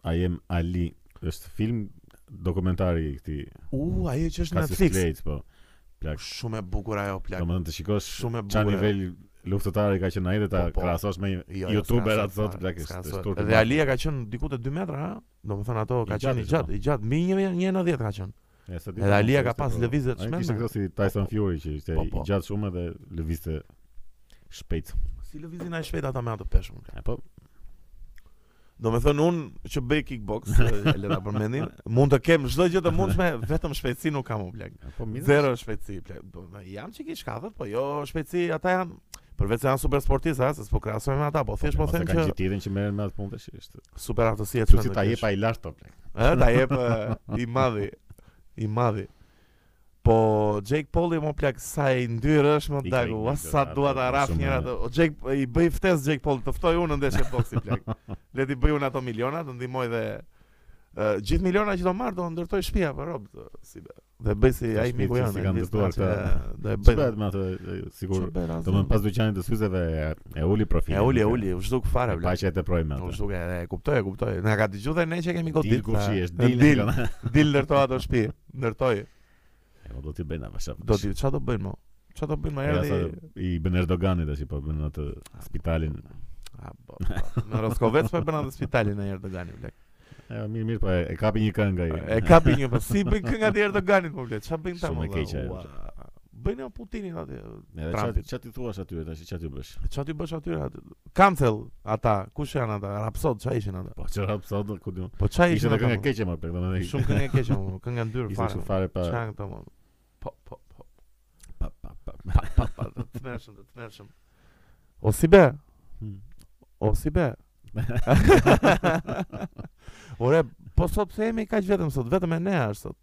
Speaker 2: I am Ali, është film dokumentari i këtij
Speaker 1: U, ajo që është në
Speaker 2: Cassius
Speaker 1: Netflix.
Speaker 2: Clay, po. Plak.
Speaker 1: Shumë e bukur ajo plak.
Speaker 2: Domethënë të shikosh
Speaker 1: Shumë e
Speaker 2: Qa
Speaker 1: bukur. ajo.
Speaker 2: nivel luftëtari ka qenë ai dhe ta
Speaker 1: Po, po.
Speaker 2: krahasosh me
Speaker 1: Jo, jo,
Speaker 2: youtuber
Speaker 1: s'ka
Speaker 2: atë
Speaker 1: asoj
Speaker 2: sot
Speaker 1: fare,
Speaker 2: blek
Speaker 1: s'ka
Speaker 2: është
Speaker 1: asoj.
Speaker 2: është turp.
Speaker 1: Dhe Alia ka qenë diku te 2 metra, ha? Domethënë ato ka
Speaker 2: I
Speaker 1: qenë i
Speaker 2: gjatë
Speaker 1: gjatë, i gjatë, mi 1.90 ka qenë. Edhe Alia ka pas lëvizje të
Speaker 2: po. Ai kishte
Speaker 1: shmendme.
Speaker 2: këto si Tyson Fury që ishte
Speaker 1: Po, po.
Speaker 2: i gjatë shumë dhe lëvizte shpejt.
Speaker 1: Si lëvizin ai shpejt ata me ato peshkun.
Speaker 2: E po,
Speaker 1: Do me thënë unë që bëj kickbox, e le ta përmendin, mund të kem çdo gjë të mundshme, vetëm shpejtësi nuk kam u blek.
Speaker 2: e po mirë.
Speaker 1: Zero shpejtësi, blek. Do me jam çik i shkatët, po jo shpejtësi, ata janë përveç se janë super sportistë, ha, se s'po krahasoj me ata, po thjesht
Speaker 2: mos
Speaker 1: po
Speaker 2: e
Speaker 1: them
Speaker 2: kanë
Speaker 1: që
Speaker 2: gjithë tjetrin që merren me atë punë tash është.
Speaker 1: super aftësi e
Speaker 2: Kështu si ta
Speaker 1: kesh.
Speaker 2: jep ai lart to blek.
Speaker 1: Ë, ta jep e, i madhi, i madhi. Po Jake Pauli më plak sa i ndyrë është më
Speaker 2: I
Speaker 1: dagu,
Speaker 2: ka- i
Speaker 1: ua
Speaker 2: ka-
Speaker 1: sa dua ta raf
Speaker 2: shumë-
Speaker 1: njëra atë. O Jake i bëj ftesë Jake Paul, të ftoj unë në ndeshje boksi plak. Le ti bëj unë ato miliona, të ndihmoj dhe ë, gjithë miliona që do marr do ndërtoj shtëpia për rob, do- si be. Dhe bëj si ai
Speaker 2: shtëpi
Speaker 1: miku
Speaker 2: që
Speaker 1: janë.
Speaker 2: si kanë ndërtuar këta.
Speaker 1: Do e bëj.
Speaker 2: Çfarë me atë e, sigur.
Speaker 1: Do
Speaker 2: Domthon pas dyqanit të syzeve e- e uli profilin.
Speaker 1: E uli, e uli, u zhduk fare
Speaker 2: Pa
Speaker 1: plak.
Speaker 2: që e teproj me
Speaker 1: U
Speaker 2: atë.
Speaker 1: zhduk, e e kuptoj, e kuptoj. Na ka dëgjuar dhe ne që kemi
Speaker 2: Dil
Speaker 1: godit.
Speaker 2: kushi
Speaker 1: na-
Speaker 2: është, dil.
Speaker 1: dil,
Speaker 2: e kanë.
Speaker 1: dil ndërtoj ato shtëpi, ndërtoj.
Speaker 2: E, po Do t'i bëjnë apo
Speaker 1: Do ti çfarë do bëjmë? mo? Çfarë do bëjmë më
Speaker 2: Ja, sa
Speaker 1: erdhi?
Speaker 2: i bën Erdogani tash po bën atë spitalin.
Speaker 1: A, po, po. Në Roskovec po e bën atë spitalin e Erdogani blek.
Speaker 2: E mirë mirë po e, e kapi një këngë ai.
Speaker 1: E kapi një po si bëjnë kënga të Erdoganit po blek. Çfarë bëjnë ta
Speaker 2: Shumë
Speaker 1: më?
Speaker 2: e keqe ajo.
Speaker 1: Bëjnë ajo Putinin aty.
Speaker 2: Edhe
Speaker 1: Trumpit.
Speaker 2: çat çat i thuash atyre tash çat i bësh?
Speaker 1: Çfarë ti bësh aty aty? Cancel ata. Kush janë ata? Rapsod çfarë ishin ata?
Speaker 2: Po çfarë hap sot ku diun.
Speaker 1: Po çfarë
Speaker 2: Ishte
Speaker 1: ishin
Speaker 2: edhe
Speaker 1: ata?
Speaker 2: këngë e
Speaker 1: mo?
Speaker 2: keqe më pak domethënë.
Speaker 1: Shumë këngë e keqe, mo, këngë ndyrë
Speaker 2: Ishte
Speaker 1: fare.
Speaker 2: kështu
Speaker 1: mo.
Speaker 2: fare pa
Speaker 1: Çfarë janë këto mo? Po, po, po.
Speaker 2: pa pa pa.
Speaker 1: Pa, pa, të tmerrshëm, të tmerrshëm. O si be,
Speaker 2: Hmm.
Speaker 1: O si be. Ore, po sot pse jemi kaq vetëm sot, vetëm e ne është sot.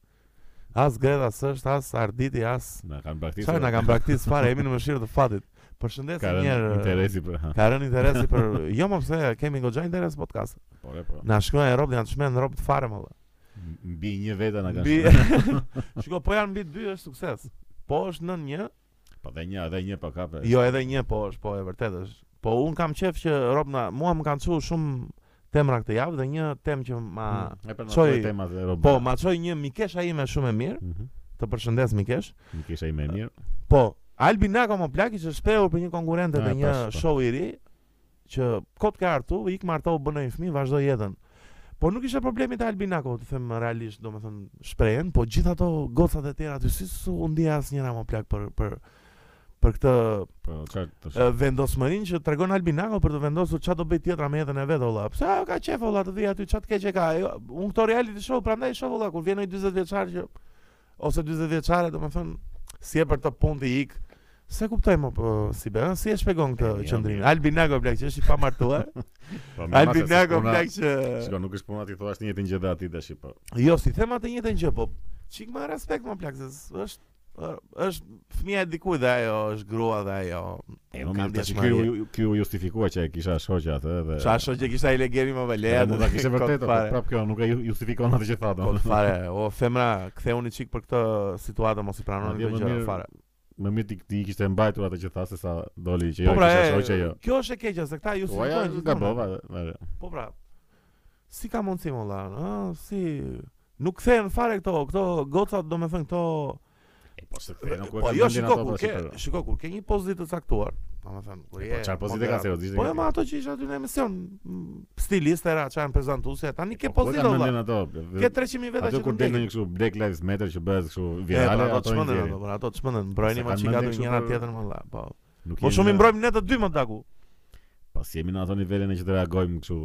Speaker 1: As Greta s'është, as Arditi, as
Speaker 2: Na kanë praktikë.
Speaker 1: Çfarë na kanë braktis fare, jemi në mëshirë të fatit. Përshëndesim një herë.
Speaker 2: interesi për. ha.
Speaker 1: Ka rënë interesi për jo më pse kemi goxha interes podcast.
Speaker 2: Po, re, po.
Speaker 1: Na shkruajnë në Europë, janë çmend në Europë të fare më valla.
Speaker 2: Mbi një veta na kanë.
Speaker 1: Mbi
Speaker 2: shkruar.
Speaker 1: Shiko, po janë mbi 2 është sukses. Po është nën një,
Speaker 2: Po dhe një, dhe një pa kape.
Speaker 1: jo edhe një po është, po e vërtet është. Po un kam qef që Europë na mua më kanë thënë shumë temra këtë javë dhe një temë që ma
Speaker 2: E për
Speaker 1: çoj-
Speaker 2: çoj temat e robë.
Speaker 1: po ma çoi një mikesha ime shumë e mirë.
Speaker 2: Mhm.
Speaker 1: Të përshëndes Mikesh.
Speaker 2: Nuk kisha i më mirë.
Speaker 1: Po, Albi Nako më plak ishte shpehur për një konkurrente
Speaker 2: Ah,
Speaker 1: në një
Speaker 2: pash, po.
Speaker 1: show i ri që kot ka hartu, ik marto u bën një fëmijë, vazhdoi jetën. Po nuk ishte problemi te Albi Nako, të them realisht, domethënë shprehen, po gjithë ato gocat e tjera aty si su u ndje asnjëra më plak për për për këtë
Speaker 2: Po çfarë të
Speaker 1: e, vendosmërinë që tregon Albi Nako për të vendosur çfarë do bëj tjetra me jetën e vet olla. Pse ajo ka qef olla të vi aty çfarë të keq e ka. Ajo, unë këto reality show prandaj shoh olla kur vjen ai 40 vjeçar që ose 40 vjeçare, domethënë si e për të punë të ik. Se kuptoj më po, si be, ëh? si e shpjegon
Speaker 2: E,
Speaker 1: këtë
Speaker 2: mirë,
Speaker 1: qendrimin?
Speaker 2: mirë.
Speaker 1: Albi Nako blaq që është i pamartuar.
Speaker 2: Po, mirë,
Speaker 1: Albi
Speaker 2: mase, se
Speaker 1: Nako
Speaker 2: puna-
Speaker 1: blaq që
Speaker 2: Shiko, nuk është puna ti thuash një jetin gjë dhe aty dashi po.
Speaker 1: jo si them atë njëjtën gjë, po çik më respekt më blaq se s- është ë, është fëmia e dikujt dhe ajo është grua dhe ajo.
Speaker 2: E
Speaker 1: nuk
Speaker 2: më
Speaker 1: ka
Speaker 2: mirë tash
Speaker 1: ndjeshmëri.
Speaker 2: ky u- ky u justifikuar që e kisha shoqja atë dhe.
Speaker 1: Qa shoqë që kisha i legemi më vele
Speaker 2: Edhe mund ta kishe vërtet, po prap kjo nuk e ju- justifikon atë që tha
Speaker 1: Kot
Speaker 2: domethënë.
Speaker 1: fare, o femra, ktheu një çik për këtë situatë mos i pranoni
Speaker 2: Madje
Speaker 1: këtë
Speaker 2: më
Speaker 1: gjë
Speaker 2: mirë,
Speaker 1: fare.
Speaker 2: Më mirë ti ti kishte mbajtur atë që tha se sa doli që jo
Speaker 1: Po pra,
Speaker 2: kisha shoqja
Speaker 1: e,
Speaker 2: jo.
Speaker 1: kjo është e keqja se këta ju
Speaker 2: Po ja
Speaker 1: gjithmonë.
Speaker 2: gabova. e,
Speaker 1: Po pra. Si ka mundësi më valla, ë, si nuk kthehen fare këto, këto gocat domethënë këto
Speaker 2: E po se kthehen nuk e
Speaker 1: Po
Speaker 2: kanë
Speaker 1: jo
Speaker 2: mendin
Speaker 1: shiko
Speaker 2: ato,
Speaker 1: kur
Speaker 2: pra, si
Speaker 1: ke,
Speaker 2: për-
Speaker 1: shiko kur ke një pozitë të caktuar, domethënë
Speaker 2: E,
Speaker 1: kur je.
Speaker 2: Po çfarë pozite ka
Speaker 1: moderat.
Speaker 2: seriozisht?
Speaker 1: Po jo, ma ato që isha aty në emision, m, stiliste ra, çan prezantuese, tani ke
Speaker 2: Po, ku e
Speaker 1: pozitë
Speaker 2: kanë
Speaker 1: valla.
Speaker 2: mendin ato.
Speaker 1: Ke 300.000 veta
Speaker 2: Ato
Speaker 1: që
Speaker 2: kur
Speaker 1: të
Speaker 2: del
Speaker 1: ndjekin. po,
Speaker 2: në një kështu Black Lives Matter që bëhet kështu
Speaker 1: Virale,
Speaker 2: virale
Speaker 1: ato
Speaker 2: ato
Speaker 1: të shmendën
Speaker 2: nxjerrin.
Speaker 1: ato, por ato të shmendën, mbrojni
Speaker 2: Se
Speaker 1: më
Speaker 2: kanë
Speaker 1: çika
Speaker 2: mendje
Speaker 1: do
Speaker 2: kështu
Speaker 1: njëra
Speaker 2: për-
Speaker 1: tjetër më valla. Po.
Speaker 2: Nuk
Speaker 1: Po
Speaker 2: jemi
Speaker 1: shumë i
Speaker 2: në-
Speaker 1: mbrojmë ne të dy më daku.
Speaker 2: Pas jemi në ato nivelin e që të reagojmë kështu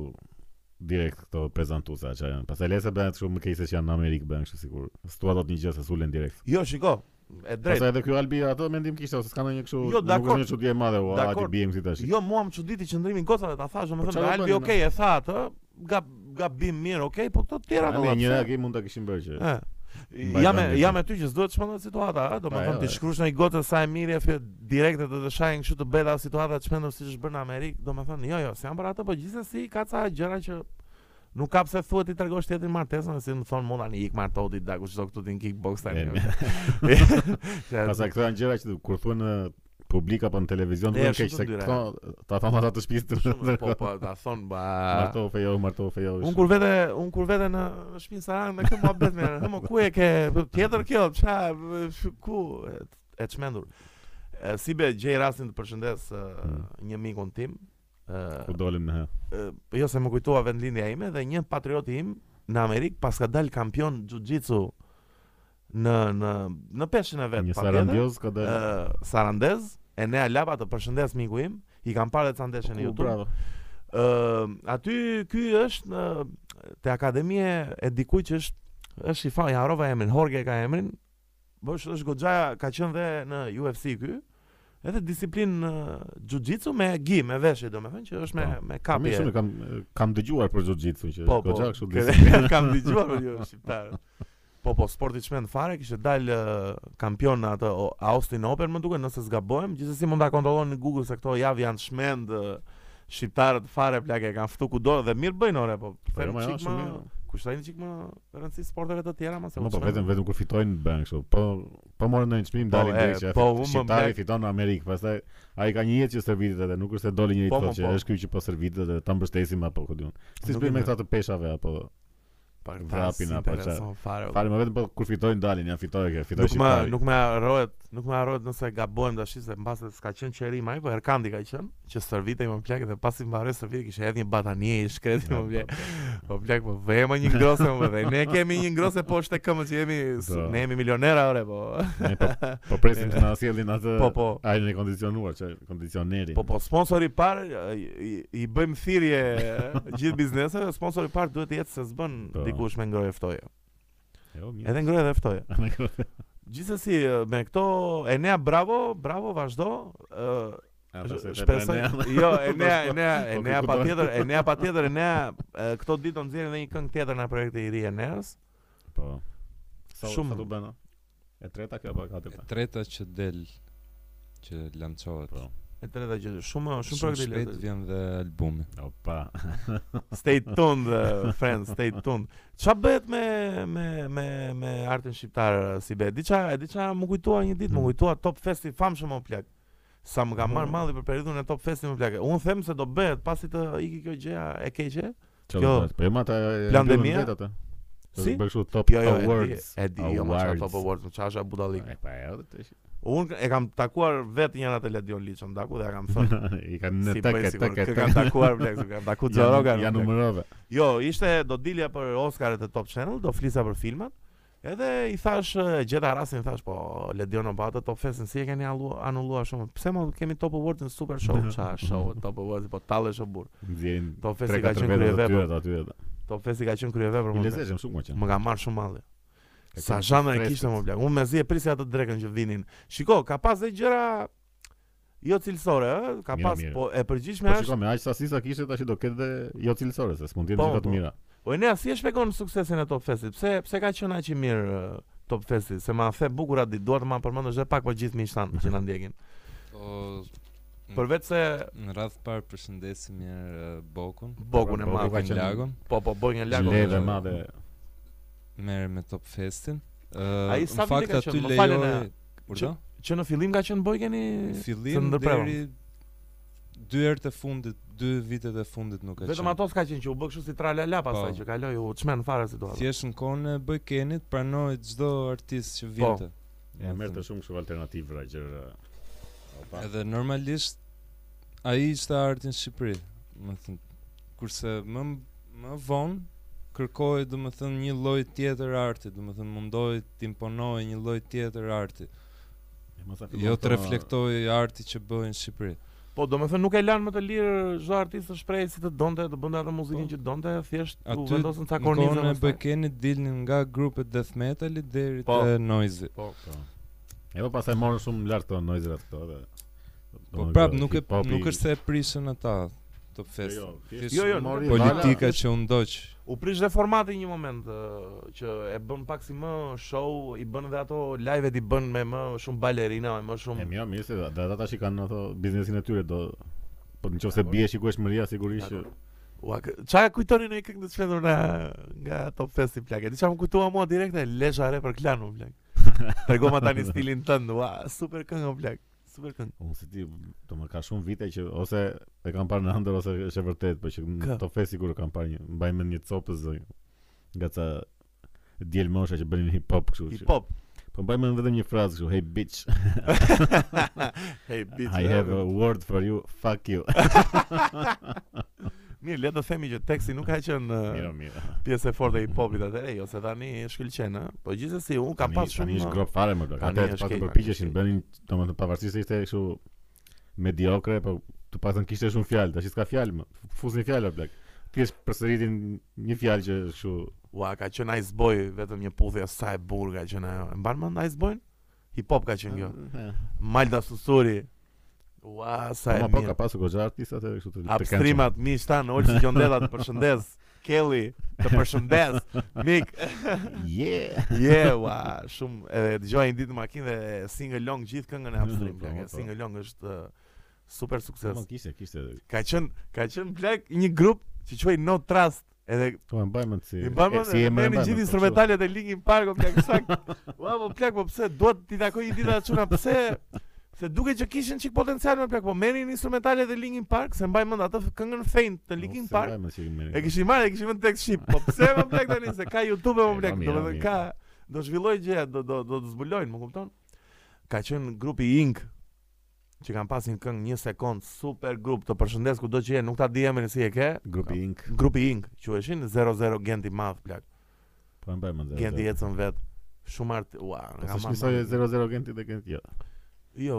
Speaker 2: direkt këto prezantuesa që janë. Pastaj lese bëhen kështu më keq se që janë në Amerikë bëhen kështu sikur. S'tua dot një gjë se sulen direkt.
Speaker 1: Jo, shiko, e drejtë.
Speaker 2: Pastaj edhe ky Albi ato mendim kishte ose s'ka ndonjë kështu. nuk
Speaker 1: Jo,
Speaker 2: është
Speaker 1: dakord.
Speaker 2: Një çudi e madhe, ua, ti
Speaker 1: Dakord.
Speaker 2: bijem si tash.
Speaker 1: Jo, mua më çuditi qëndrimi i gocave, ta thash,
Speaker 2: çfarë
Speaker 1: domethënë
Speaker 2: do
Speaker 1: Albi,
Speaker 2: bënin,
Speaker 1: okay, e tha atë, gab gabim mirë, okay, po këto të tjera
Speaker 2: Ani
Speaker 1: valla.
Speaker 2: një
Speaker 1: pse-
Speaker 2: reagim mund ta kishim bërë që.
Speaker 1: Ë.
Speaker 2: Mbaj
Speaker 1: Jam
Speaker 2: mend
Speaker 1: e-
Speaker 2: këtë.
Speaker 1: jam aty që s'duhet të shmendohet situata,
Speaker 2: Pa,
Speaker 1: ë, domethënë
Speaker 2: jo,
Speaker 1: ti
Speaker 2: e.
Speaker 1: shkruash në një gotë sa e mirë e fë direkte të të shajin kështu të bëta situata të shmendur siç është bërë në Amerikë, domethënë jo, jo, s'jam për atë, po gjithsesi ka ca gjëra që nuk ka pse thuhet ti tregosh teatrin martesën, si më thon mund tani ik martoti daku çdo këtu ti në kickbox tani.
Speaker 2: E,
Speaker 1: Se-
Speaker 2: Pastaj këto janë gjëra që kur thuan në publik apo në televizion
Speaker 1: E,
Speaker 2: duhen
Speaker 1: shumë
Speaker 2: keq
Speaker 1: të
Speaker 2: se
Speaker 1: ndyra.
Speaker 2: këto ta thon ata të shtëpisë.
Speaker 1: Shumë, po po ta thon ba.
Speaker 2: Marto fejo, marto fejo.
Speaker 1: Un kur vete, un kur vete në në shtëpinë Sarang me këtë muhabet me, "Hë, mo ku e ke tjetër kjo? Ça sh- ku e, e çmendur." E, Si be gjej rastin të përshëndes e,
Speaker 2: Mm.
Speaker 1: një mikun tim. e,
Speaker 2: ku dolim ne.
Speaker 1: e, jo se më kujtoa vendlindja ime dhe një patriot im në Amerikë pas ka dal kampion jiu-jitsu në në në peshën e vet.
Speaker 2: Një
Speaker 1: pa
Speaker 2: sarandioz ka
Speaker 1: tjetër.
Speaker 2: dalë.
Speaker 1: E, Sarandez, e ne Alaba të përshëndes miku im, i kam parë dhe ca
Speaker 2: Ku,
Speaker 1: ndeshje në
Speaker 2: pra,
Speaker 1: YouTube.
Speaker 2: bravo.
Speaker 1: Ë, aty ky është në te akademie e dikujt që është është i faj, harova emrin, Jorge ka emrin. Po është është goxha ka qenë dhe në UFC ky. Edhe disiplinë ë, jiu-jitsu me gi, me veshje domethënë që është me
Speaker 2: Po.
Speaker 1: me
Speaker 2: Kam
Speaker 1: kapje.
Speaker 2: shumë kam kam dëgjuar për jiu-jitsu që
Speaker 1: Po, po.
Speaker 2: goxha kështu
Speaker 1: ke-
Speaker 2: disi.
Speaker 1: Kam dëgjuar për ju shqiptar. Po po, sporti çmend fare, kishte dal ë, kampion në atë o, Austin Open, më duket, nëse zgabohem, gjithsesi mund ta kontrolloni në Google se këto javë janë çmend ë, shqiptarët fare plakë e kanë ftu kudo dhe mirë bëjnë ore, po.
Speaker 2: Po, jo,
Speaker 1: Them
Speaker 2: ma,
Speaker 1: çik
Speaker 2: shumë
Speaker 1: më
Speaker 2: mirë.
Speaker 1: kushtojnë çik më rëndësi sporteve të tjera, më se.
Speaker 2: Po,
Speaker 1: u
Speaker 2: po
Speaker 1: çmend.
Speaker 2: vetëm vetëm kur fitojnë bën kështu. Po po morën ndonjë çmim
Speaker 1: Po,
Speaker 2: dalin
Speaker 1: e,
Speaker 2: drejt që
Speaker 1: po,
Speaker 2: po,
Speaker 1: unë më
Speaker 2: shqiptari
Speaker 1: mbaj-
Speaker 2: fiton në Amerikë, pastaj ai ka një jetë që servitet edhe nuk është se doli njëri
Speaker 1: Po,
Speaker 2: të thotë
Speaker 1: po,
Speaker 2: që
Speaker 1: po.
Speaker 2: është ky që po servitet dhe ta mbështesim apo ku diun.
Speaker 1: Nuk
Speaker 2: Siç bëjmë
Speaker 1: e
Speaker 2: me
Speaker 1: di.
Speaker 2: këta të peshave apo
Speaker 1: Pa, këta
Speaker 2: vrapin
Speaker 1: si
Speaker 2: apo
Speaker 1: intereson Fare. o.
Speaker 2: fare më vetëm po kur fitojnë dalin, ja fitoi kjo, fitoi
Speaker 1: Nuk më
Speaker 2: shqiptari.
Speaker 1: nuk më harrohet, nuk më harrohet nëse gabohem tash se mbas se s'ka qenë qerim ai, po Erkandi ka qenë, që stërvitej më plak dhe pasi mbaroi stërvitje kishte edhe një batanie i shkreti më plak. Po plak po vema një ngrosë më dhe ne kemi një ngrosë po është e këmbë që jemi s-
Speaker 2: Do.
Speaker 1: ne jemi milionera ore po.
Speaker 2: Ne po po presim të na sjellin atë
Speaker 1: Po po.
Speaker 2: ajrin e kondicionuar, që kondicioneri.
Speaker 1: Po po sponsori i parë i, i bëjmë thirrje gjithë bizneseve, sponsori i parë duhet të jetë se s'bën
Speaker 2: Po.
Speaker 1: dikush me ngroje ftoje.
Speaker 2: Jo, mirë.
Speaker 1: Edhe ngroje dhe ftoje. Gjithsesi me këto Enea bravo, bravo vazhdo. ë
Speaker 2: A, pastaj te
Speaker 1: Shpresoj.
Speaker 2: Enea.
Speaker 1: Jo, Enea, Enea,
Speaker 2: Po,
Speaker 1: Enea
Speaker 2: ku do-
Speaker 1: patjetër, Enea patjetër, Enea e, këto ditë do nxjerrin edhe një këngë tjetër nga projekti i ri i Eneas.
Speaker 2: Po. Sa
Speaker 1: Shumë.
Speaker 2: Shumë. Sa do bëna? E treta kjo po, apo e
Speaker 3: E
Speaker 2: katërta?
Speaker 3: treta që del që lançohet.
Speaker 2: Po.
Speaker 1: E treta gjë, shumë shumë
Speaker 3: Shumë
Speaker 1: projekte i
Speaker 3: shpejt
Speaker 1: lehtë.
Speaker 3: vjen dhe albumi.
Speaker 2: Opa.
Speaker 1: Stay tuned, uh, friends, stay tuned. Ç'a bëhet me me me me artin shqiptar uh, si bëhet? Diçka, e diçka më kujtua një ditë, më
Speaker 2: Mhm.
Speaker 1: kujtua Top Fest i famshëm o plak. Sa më ka marrë
Speaker 2: Po.
Speaker 1: malli për periudhën e Top Festit më plak. Unë them se do bëhet pasi të iki kjo gjëja e keqe.
Speaker 2: Ço
Speaker 1: Kjo-
Speaker 2: do të bësh? Po e mata e
Speaker 1: Plan
Speaker 2: mbyllën
Speaker 1: Demia?
Speaker 2: vetë atë.
Speaker 1: Si?
Speaker 2: Bëj kështu top
Speaker 1: Jo, jo, e di,
Speaker 2: awards.
Speaker 1: e di, jo, më çfarë
Speaker 2: Awards.
Speaker 1: Top Awards, më çfarë është budallik.
Speaker 2: E pa edhe të shi.
Speaker 1: Unë e kam takuar vetë njëra të Ledion Liçën Daku dhe ja kam thënë
Speaker 2: I kanë në
Speaker 1: si
Speaker 2: tek
Speaker 1: bëj sigur,
Speaker 2: tek
Speaker 1: kë kam takuar plak, kë kam takuar Xorogan.
Speaker 2: Ja numërove.
Speaker 1: Jo, ishte do dilja për Oscaret e Top Channel, do flisa për filmat. Edhe i thash, e gjeta rastin i thash, po Ledion Obata Top Festin si e keni allu- anulluar shumë. Pse mo kemi Top Award në Super Show? Ça show Top Award, po tallesh o burr.
Speaker 2: Nxjerrin
Speaker 1: Top Festi
Speaker 2: tre
Speaker 1: ka
Speaker 2: katër
Speaker 1: qenë
Speaker 2: vetë aty
Speaker 1: kryevepër.
Speaker 2: aty aty. aty.
Speaker 1: Top Festi ka qenë po, kryevepër
Speaker 2: I
Speaker 1: më. plak.
Speaker 2: lezeshëm shumë më qenë.
Speaker 1: Më ka marrë shumë malli.
Speaker 2: Ka
Speaker 1: Sa
Speaker 2: qenë
Speaker 1: zhame e
Speaker 2: freskët.
Speaker 1: kishte më plak. Unë mezi e prisja atë drekën që vinin. Shiko, ka pas dhe gjëra jo cilësore, ë, ka
Speaker 2: Mirë,
Speaker 1: pas,
Speaker 2: mirë.
Speaker 1: po e përgjithshme
Speaker 2: Po
Speaker 1: është
Speaker 2: shikoj me aq sasi sa kishte tash do ketë dhe jo cilësore se s'mund të jetë
Speaker 1: Po,
Speaker 2: gjithë
Speaker 1: po.
Speaker 2: të mira.
Speaker 1: Po ne si e shpjegon suksesin e Top Festit? Pse pse ka qenë aq i mirë eh, Top Festi? Se ma the bukura ditë, dua të ma përmendësh edhe pak po gjithë miqtan që na ndjekin.
Speaker 3: Po
Speaker 1: Përveç se
Speaker 3: në radh parë përshëndesim mirë eh, Bokun.
Speaker 1: Bokun e
Speaker 2: Po,
Speaker 1: madh,
Speaker 2: ka
Speaker 3: Bokun
Speaker 2: qenë-
Speaker 3: Lagon,
Speaker 1: po po boj një lagë.
Speaker 2: Leve madhe.
Speaker 3: merrem me Top Festin.
Speaker 1: Ai
Speaker 3: Ë,
Speaker 1: sa
Speaker 3: në
Speaker 1: vite
Speaker 3: fakt
Speaker 1: ka
Speaker 3: aty
Speaker 1: qenë? Më falë
Speaker 3: lejoj
Speaker 1: na-
Speaker 3: Urdo?
Speaker 1: Që në fillim ka qenë bojkeni të
Speaker 3: Fillim
Speaker 1: ndërprevam.
Speaker 3: deri dy herë të fundit, dy vitet e fundit nuk ka qenë.
Speaker 1: vetëm ato s'ka qenë që u bë kështu si tralala pastaj
Speaker 3: Po.
Speaker 1: që kaloi u çmen fare situata.
Speaker 3: Thjesht në kohën e Bëjkenit pranohet çdo artist që
Speaker 1: Po.
Speaker 3: vinte.
Speaker 2: E merrte shumë kështu alternativë ra gjëra. Opa.
Speaker 3: Edhe normalisht ai ishte arti në Shqipëri, më thënë. Kurse më më vonë kërkohet domethënë një lloj tjetër arti, domethënë mundohet të imponohet një lloj tjetër arti,
Speaker 2: E mos e fillon
Speaker 3: jo
Speaker 2: këto-
Speaker 3: të reflektoj arti që bëhet në Shqipëri.
Speaker 1: Po domethënë nuk e lanë më të lirë çdo artist të shprehej si të donte, të bënte atë muzikën
Speaker 3: Po.
Speaker 1: që donte, thjesht u
Speaker 3: Aty
Speaker 1: vendosën ca
Speaker 3: Në
Speaker 1: kornizë.
Speaker 3: kohën e
Speaker 1: pastaj.
Speaker 3: Bëjkenit dilnin nga grupet death metalit deri
Speaker 1: Po.
Speaker 3: te noise.
Speaker 1: Po.
Speaker 2: Po. E po pastaj morën shumë lart këto noizrat këto dhe
Speaker 3: Po prap nuk e nuk është se e prishën ata Top Fest.
Speaker 2: Jo,
Speaker 3: thjesht
Speaker 1: Jo, jo,
Speaker 2: mori
Speaker 1: nuk-
Speaker 2: vala,
Speaker 3: Politika
Speaker 1: Vala,
Speaker 3: që u ndoq.
Speaker 1: U prish dhe formati një moment ë, që e bën pak si më show, i bën dhe ato live-et i bën me më shumë balerina, me më
Speaker 2: E
Speaker 1: shumë
Speaker 2: mirë, jo, mirë se da- ata tash i kanë ato biznesin e tyre do po në qoftë se
Speaker 1: Dakor.
Speaker 2: bie shikosh Shqipëria sigurisht që
Speaker 1: Dakor. Ua, kë- qa e kujtoni në një këngë të shpëndur nga nga Top Festi plak. E diçka më kujtua mua direkte Lesha re për klan më plak. Tregoma tani stilin tënd. Ua, super këngë o plak. Super këngë.
Speaker 2: unë se ti do më ka shumë vite që ose e kanë parë në ëndër ose është e vërtet, po që
Speaker 1: Kë?
Speaker 2: në Top Fest sigurisht kanë parë një mbaj mend një copës zë- nga ca djel mosha që bënin hip hop kështu. që-
Speaker 1: Hip hop.
Speaker 2: Po mbaj mend vetëm një frazë kështu, hey bitch,
Speaker 1: hey bitch.
Speaker 2: I have a word for you, fuck you.
Speaker 1: Mirë, le të themi që teksti nuk ka qenë
Speaker 2: Mirë,
Speaker 1: ë,
Speaker 2: mirë.
Speaker 1: pjesë e fortë e hip-hopit atëherë, jo se tani shkëlqen, ë. Po gjithsesi, un kam
Speaker 2: Tani-
Speaker 1: pas shumë
Speaker 2: Tani
Speaker 1: ë,
Speaker 2: është grop fare më blok.
Speaker 1: Tani
Speaker 2: Atë
Speaker 1: është
Speaker 2: pas të
Speaker 1: kej,
Speaker 2: përpiqeshin,
Speaker 1: tani është
Speaker 2: bënin, domethënë pavarësisht se ishte kështu mediokre, po të pasën kishte shumë fjalë, tash s'ka fjalë më. Fusin fjalë blok. Thjesht përsëritin një fjalë që është kështu
Speaker 1: Ua, ka qenë Ice Boy, vetëm një puthje sa e burr ka qenë ajo. E mban mend Ice Boy? Hip hop ka qenë kjo.
Speaker 2: Eh,
Speaker 1: Malda Susuri. Ua, sa e
Speaker 2: Po po ka
Speaker 1: mirë.
Speaker 2: pasur goxha artistë atë kështu të të
Speaker 1: Upstreamat, mi shtan, Olsi Gjondeta të përshëndes. Kelly, të përshëndes. Mik,
Speaker 2: këndshëm. Yeah.
Speaker 1: je, ua, shumë. E dëgjoj një ditë në makinë dhe single long gjithë këngën e Upstream.
Speaker 2: Po,
Speaker 1: plak, e
Speaker 2: po.
Speaker 1: Single long është uh, super
Speaker 2: Po
Speaker 1: sukses.
Speaker 2: kishte, kishte.
Speaker 1: Ka qenë, ka qenë plak një grup që quaj No Trust. Edhe
Speaker 2: Po e mbaj mend si.
Speaker 1: I bëmë
Speaker 2: si
Speaker 1: si
Speaker 2: emrin e mbaj
Speaker 1: merrin
Speaker 2: mend,
Speaker 1: gjithë
Speaker 2: po,
Speaker 1: instrumentalet e Linkin Park, o plak sak. Ua, po plak, po pse duhet ti takoj një ditë atë çuna, pse se duket që kishin çik potencial me plak, po merrin instrumentalet e Linkin Park, se mbaj mend atë këngën Faint
Speaker 2: kështu.
Speaker 1: të Linkin
Speaker 2: Po, se
Speaker 1: Park.
Speaker 2: mbaj mend si emrin.
Speaker 1: E kishin marrë, e kishin vënë tek ship. Po pse më plak tani se ka YouTube më
Speaker 2: E,
Speaker 1: plak,
Speaker 2: ma mirë,
Speaker 1: domethënë
Speaker 2: ma
Speaker 1: ka do zhvilloj gjë, do do do të zbulojnë, më kupton? Ka qenë grupi Ink që kanë pasin këngë një sekond super grup të përshëndes kudo që je, nuk ta di emrin si e ke.
Speaker 2: grupi Ink.
Speaker 1: Grupi Ink, quheshin 00 Gent i madh plak.
Speaker 2: Po e mbaj mend.
Speaker 1: Genti ecën vet. Shumë art, ua,
Speaker 2: Po
Speaker 1: nga
Speaker 2: s'është
Speaker 1: mama.
Speaker 2: njësoj 00 Genti dhe Genti. Jo.
Speaker 1: Jo,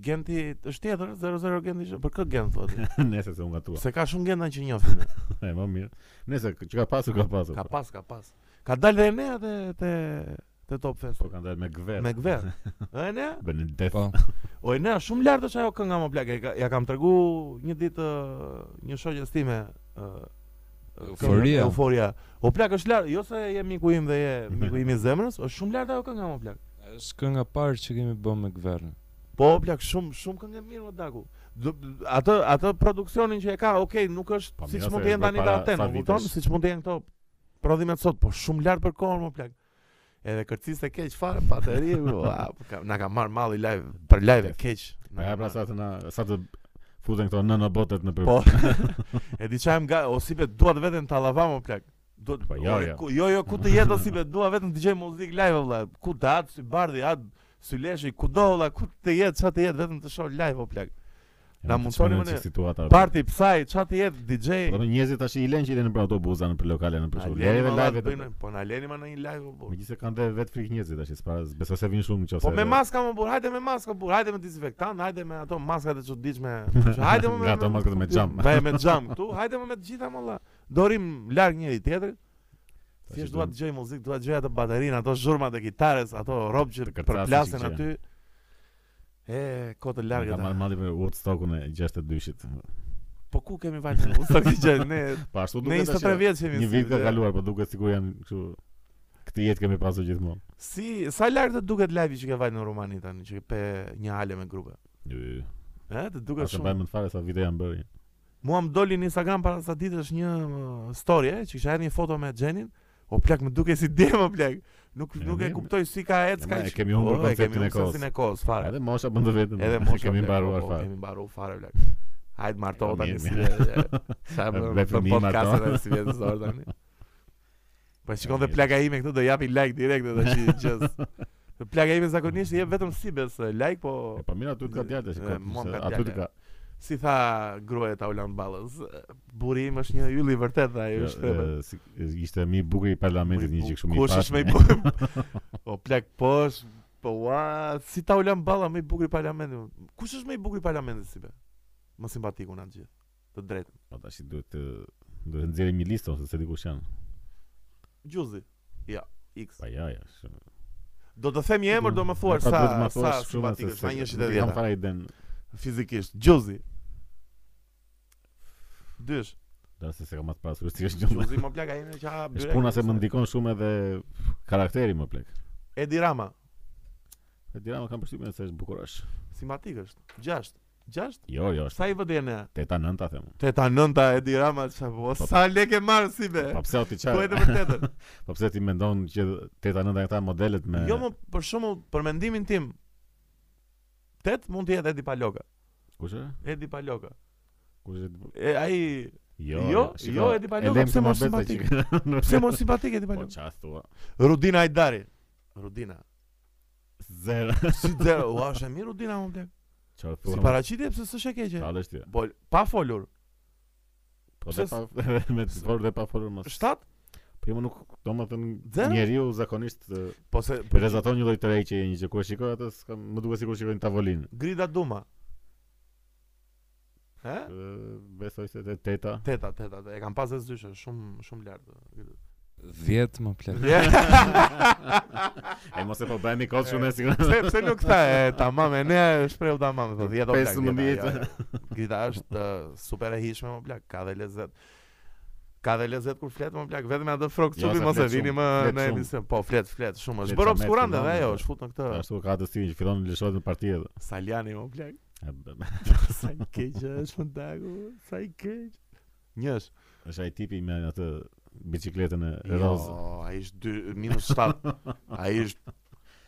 Speaker 1: Genti është tjetër, 00 Genti, është- për kë Gent thotë?
Speaker 2: Nëse se unë gatua.
Speaker 1: Se ka shumë Genta që njohin.
Speaker 2: E më mirë. Nëse që ka pasur ka pasur.
Speaker 1: Ka
Speaker 2: po.
Speaker 1: pas, ka pas. Ka dalë dhe ne te te te Top Fest.
Speaker 2: Po kanë dalë me gver.
Speaker 1: Me gver. E ne?
Speaker 2: Bën def.
Speaker 3: Po.
Speaker 1: O e ne, shumë lart është ajo kënga më plak. e ka- Ja kam tregu një ditë ë, një shoqes time ë, ë,
Speaker 3: Euforia.
Speaker 1: këngën- Euforia. O plak është lart, jo se je miku im dhe je miku im i zemrës, është shumë lart ajo kënga më plak.
Speaker 3: Është kënga e parë që kemi bën me Gvern.
Speaker 1: Po plak shumë shumë këngë e mirë më daku. Do, atë atë produksionin që e ka, okay, nuk
Speaker 2: Po,
Speaker 1: është siç
Speaker 2: mirë,
Speaker 1: mund
Speaker 2: se
Speaker 1: të jenë tani
Speaker 2: përpara
Speaker 1: daten,
Speaker 2: sa
Speaker 1: e kupton?
Speaker 2: vitesh.
Speaker 1: Siç mund të jenë këto prodhimet sot, po shumë lart për kohën më plak. Edhe kërcisë e keq fare, pateri, ua, po ka- na ka marr malli live për live e keq.
Speaker 2: Na
Speaker 1: Na ka
Speaker 2: ja pra
Speaker 1: marrë.
Speaker 2: sa të na sa të futen këto nëna botet në për.
Speaker 1: Po. e di çajm ga, osipe dua të veten tallava më plak. Do
Speaker 2: Po, jo,
Speaker 1: ore,
Speaker 2: jo.
Speaker 1: ku- jo, jo, ku të jetë osipe, dua vetëm të dëgjoj muzikë live vëlla. Ku dat, si bardhi, at, syleshi, kudo vëlla, ku të jetë, çfarë të jetë, vetëm të shoh live o plak. na mundsonin më ne.
Speaker 2: situata.
Speaker 1: Parti psaj, çfarë të jetë DJ.
Speaker 2: Po do njerëzit tash i lënë që i lënë për autobuza në për lokale në për
Speaker 1: Na
Speaker 2: shkollë.
Speaker 1: leni,
Speaker 2: Edhe live.
Speaker 1: ma, valla, të bëjmë- Po na leni ma në një live o, burr.
Speaker 2: Megjithëse kanë dhe vetë frikë njerëzit tash, para besoj se vinë shumë nëse.
Speaker 1: Po me maska më burr, hajde me maska burr, hajde me dezinfektant, hajde me ato maskat e çuditshme. që Hajde më me
Speaker 2: Nga ato maskat me xham.
Speaker 1: Me me xham këtu, hajde më me të gjitha molla. Dorim larg njëri tjetrit. Thjesht dua të dëgjoj muzikë, dua të dëgjoj ato baterinë, ato zhurmat e kitares, ato robë që
Speaker 2: Të kërcasin
Speaker 1: përplasin
Speaker 2: që që.
Speaker 1: aty. E, kote largë
Speaker 2: Ka marrë
Speaker 1: ta.
Speaker 2: mali për Woodstockun e 62-shit.
Speaker 1: Po ku kemi vajtë në Woodstock i gjë? Ne,
Speaker 2: Po ashtu
Speaker 1: ne
Speaker 2: duket tash.
Speaker 1: 23 vjetë që jemi.
Speaker 2: Një
Speaker 1: si-
Speaker 2: vit ka kaluar, po duket sikur janë kështu këtë jetë kemi pasur gjithmonë.
Speaker 1: Si, sa larg të duket live që ke vajtë në Rumani tani, që ke pe një hale me grupe.
Speaker 2: Ë,
Speaker 1: E, të duket
Speaker 2: Asë
Speaker 1: shumë.
Speaker 2: mbajmë të fare sa vite janë bërë.
Speaker 1: Mua më doli në Instagram para sa ditësh një uh, story, e, që kisha hedhë një foto me Xhenin. O plak, më duket si demo plak. Nuk
Speaker 2: E,
Speaker 1: nuk e
Speaker 2: mirë.
Speaker 1: kuptoj si ka
Speaker 2: E,
Speaker 1: ecë ka.
Speaker 2: ma, e kemi humbur konceptin e kohës.
Speaker 1: e kohës fare.
Speaker 2: Edhe mosha bën të vetëm.
Speaker 1: Edhe mos
Speaker 2: kemi mbaruar
Speaker 1: fare.
Speaker 2: fare.
Speaker 1: Kemi mbaruar fare plak. Hajt marto
Speaker 2: Jo,
Speaker 1: tani
Speaker 2: mirë,
Speaker 1: si. e, Sa më
Speaker 2: Ve
Speaker 1: me
Speaker 2: fëmijë
Speaker 1: podcast
Speaker 2: marto.
Speaker 1: edhe si vjen zor tani. Po shikon
Speaker 2: Jo,
Speaker 1: dhe
Speaker 2: mirë.
Speaker 1: plaka ime këtu do japi like direkt edhe që gjës. Plaka ime zakonisht i jep vetëm si bes like, po
Speaker 2: E, Po mirë aty të ka djalë
Speaker 1: E,
Speaker 2: tash.
Speaker 1: mua më ka
Speaker 2: Aty të
Speaker 1: djalë.
Speaker 2: ka.
Speaker 1: si tha gruaja ta Ulan Ballës, burri im është një yll i vërtet dhe ajo
Speaker 2: Jo,
Speaker 1: është trebe.
Speaker 2: e, si- e, Ishte mi i bukur i parlamentit një gjë kështu mi.
Speaker 1: Kush është më i bukur? O plak posh, po ua, si ta Ulan Balla më i bukur i parlamentit. Kush është më i bukur i parlamentit si be? Më simpatiku na të gjithë. Të drejtën.
Speaker 2: Po tash i duhet të duhet të nxjerrim një listë ose se dikush janë.
Speaker 1: Gjuzi. Ja, X.
Speaker 2: Pa ja, ja. shumë.
Speaker 1: Do të them një emër do më thuash
Speaker 2: Pa,
Speaker 1: sa
Speaker 2: duhet të më
Speaker 1: sa
Speaker 2: thuash shumë,
Speaker 1: simpatik
Speaker 2: se
Speaker 1: është, sa
Speaker 2: se-
Speaker 1: një
Speaker 2: nuk
Speaker 1: shitë
Speaker 2: e Kam
Speaker 1: vjetë.
Speaker 2: fare iden.
Speaker 1: Fizikisht, Gjuzi. Dysh,
Speaker 2: Da se se kam atë pasur si është gjë.
Speaker 1: Gjuzi më plak ai që ha
Speaker 2: Është
Speaker 1: byrek,
Speaker 2: puna se më
Speaker 1: sa-
Speaker 2: ndikon shumë edhe karakteri më plek.
Speaker 1: Edi Rama,
Speaker 2: E dira më kam përshtypjen se është bukurash.
Speaker 1: simpatik është. 6. 6?
Speaker 2: Jo, jo, është
Speaker 1: Sa i vëdjen e?
Speaker 2: teta nënta them.
Speaker 1: Teta nënta e di Rama që po sa lek e marr si be.
Speaker 2: Po pse o ti
Speaker 1: Po e të
Speaker 2: çaj?
Speaker 1: vërtetën.
Speaker 2: Po pse ti mendon që teta nënta këta modelet me
Speaker 1: Jo më për shembull për mendimin tim. Tet mund të jetë Edi Paloka.
Speaker 2: Kush është?
Speaker 1: Edi Paloka.
Speaker 2: Kush është?
Speaker 1: E ai
Speaker 2: Jo,
Speaker 1: Jo,
Speaker 2: shiko,
Speaker 1: jo, Edi Paloka,
Speaker 2: e lem
Speaker 1: pse
Speaker 2: se
Speaker 1: mos
Speaker 2: më besa
Speaker 1: simpatik?
Speaker 2: që-
Speaker 1: pse mos simpatik Edi
Speaker 2: Po
Speaker 1: Paloka?
Speaker 2: çfarë thua?
Speaker 1: Po, Rudina Ajdari. Rudina.
Speaker 2: Zero.
Speaker 1: Si zero, ua është e mirë Rudina më blek.
Speaker 2: Çfarë thua?
Speaker 1: Si paraqitje pse s'është e keqe.
Speaker 2: Tallesh ti.
Speaker 1: Po pa folur.
Speaker 2: Po
Speaker 1: Pse
Speaker 2: dhe pa me të folur dhe pa folur mos.
Speaker 1: 7?
Speaker 2: Po jo, më nuk domethënë
Speaker 1: Zero?
Speaker 2: njeriu zakonisht e,
Speaker 1: Po se
Speaker 2: Po rezaton një lloj tërheqje një gjë kur e shikoj atë s'kam më duket sikur shikoj në tavolinë.
Speaker 1: Grida Duma. He?
Speaker 2: Ë, Besoj se te teta.
Speaker 1: Teta, teta, teta. e kam pas as dyshën, shumë shumë lart.
Speaker 3: 10 më plak.
Speaker 2: E mos e po bëhemi kot shumë e sigurt.
Speaker 1: Pse pse nuk tha e tamam e ne shpreu tamam thotë jeto plak.
Speaker 2: 15.
Speaker 1: jeta, ja, ja. Grita është ë, super e hishme më plak, ka dhe lezet. Ka dhe lezet kur flet më plak, vetëm atë frok
Speaker 2: Jo,
Speaker 1: çupi
Speaker 2: se
Speaker 1: mos e
Speaker 2: flet
Speaker 1: vini
Speaker 2: shumë,
Speaker 1: më
Speaker 2: flet
Speaker 1: në
Speaker 2: shumë.
Speaker 1: emision. Po flet flet shumë. Është
Speaker 2: Flet
Speaker 1: bërë
Speaker 2: sa
Speaker 1: obskurante
Speaker 2: merr
Speaker 1: dhe
Speaker 2: filon,
Speaker 1: ajo,
Speaker 2: po.
Speaker 1: është fut në këtë
Speaker 2: Ashtu ka të stin që fillon lëshohet në parti edhe.
Speaker 1: Saljani më plak.
Speaker 2: E, b-
Speaker 1: Sa i keq është më dagu, sa i keq. Njësh.
Speaker 2: Është ai tipi me atë bicikletën e rozë.
Speaker 1: Jo, ai është dy- minus 7. Ai është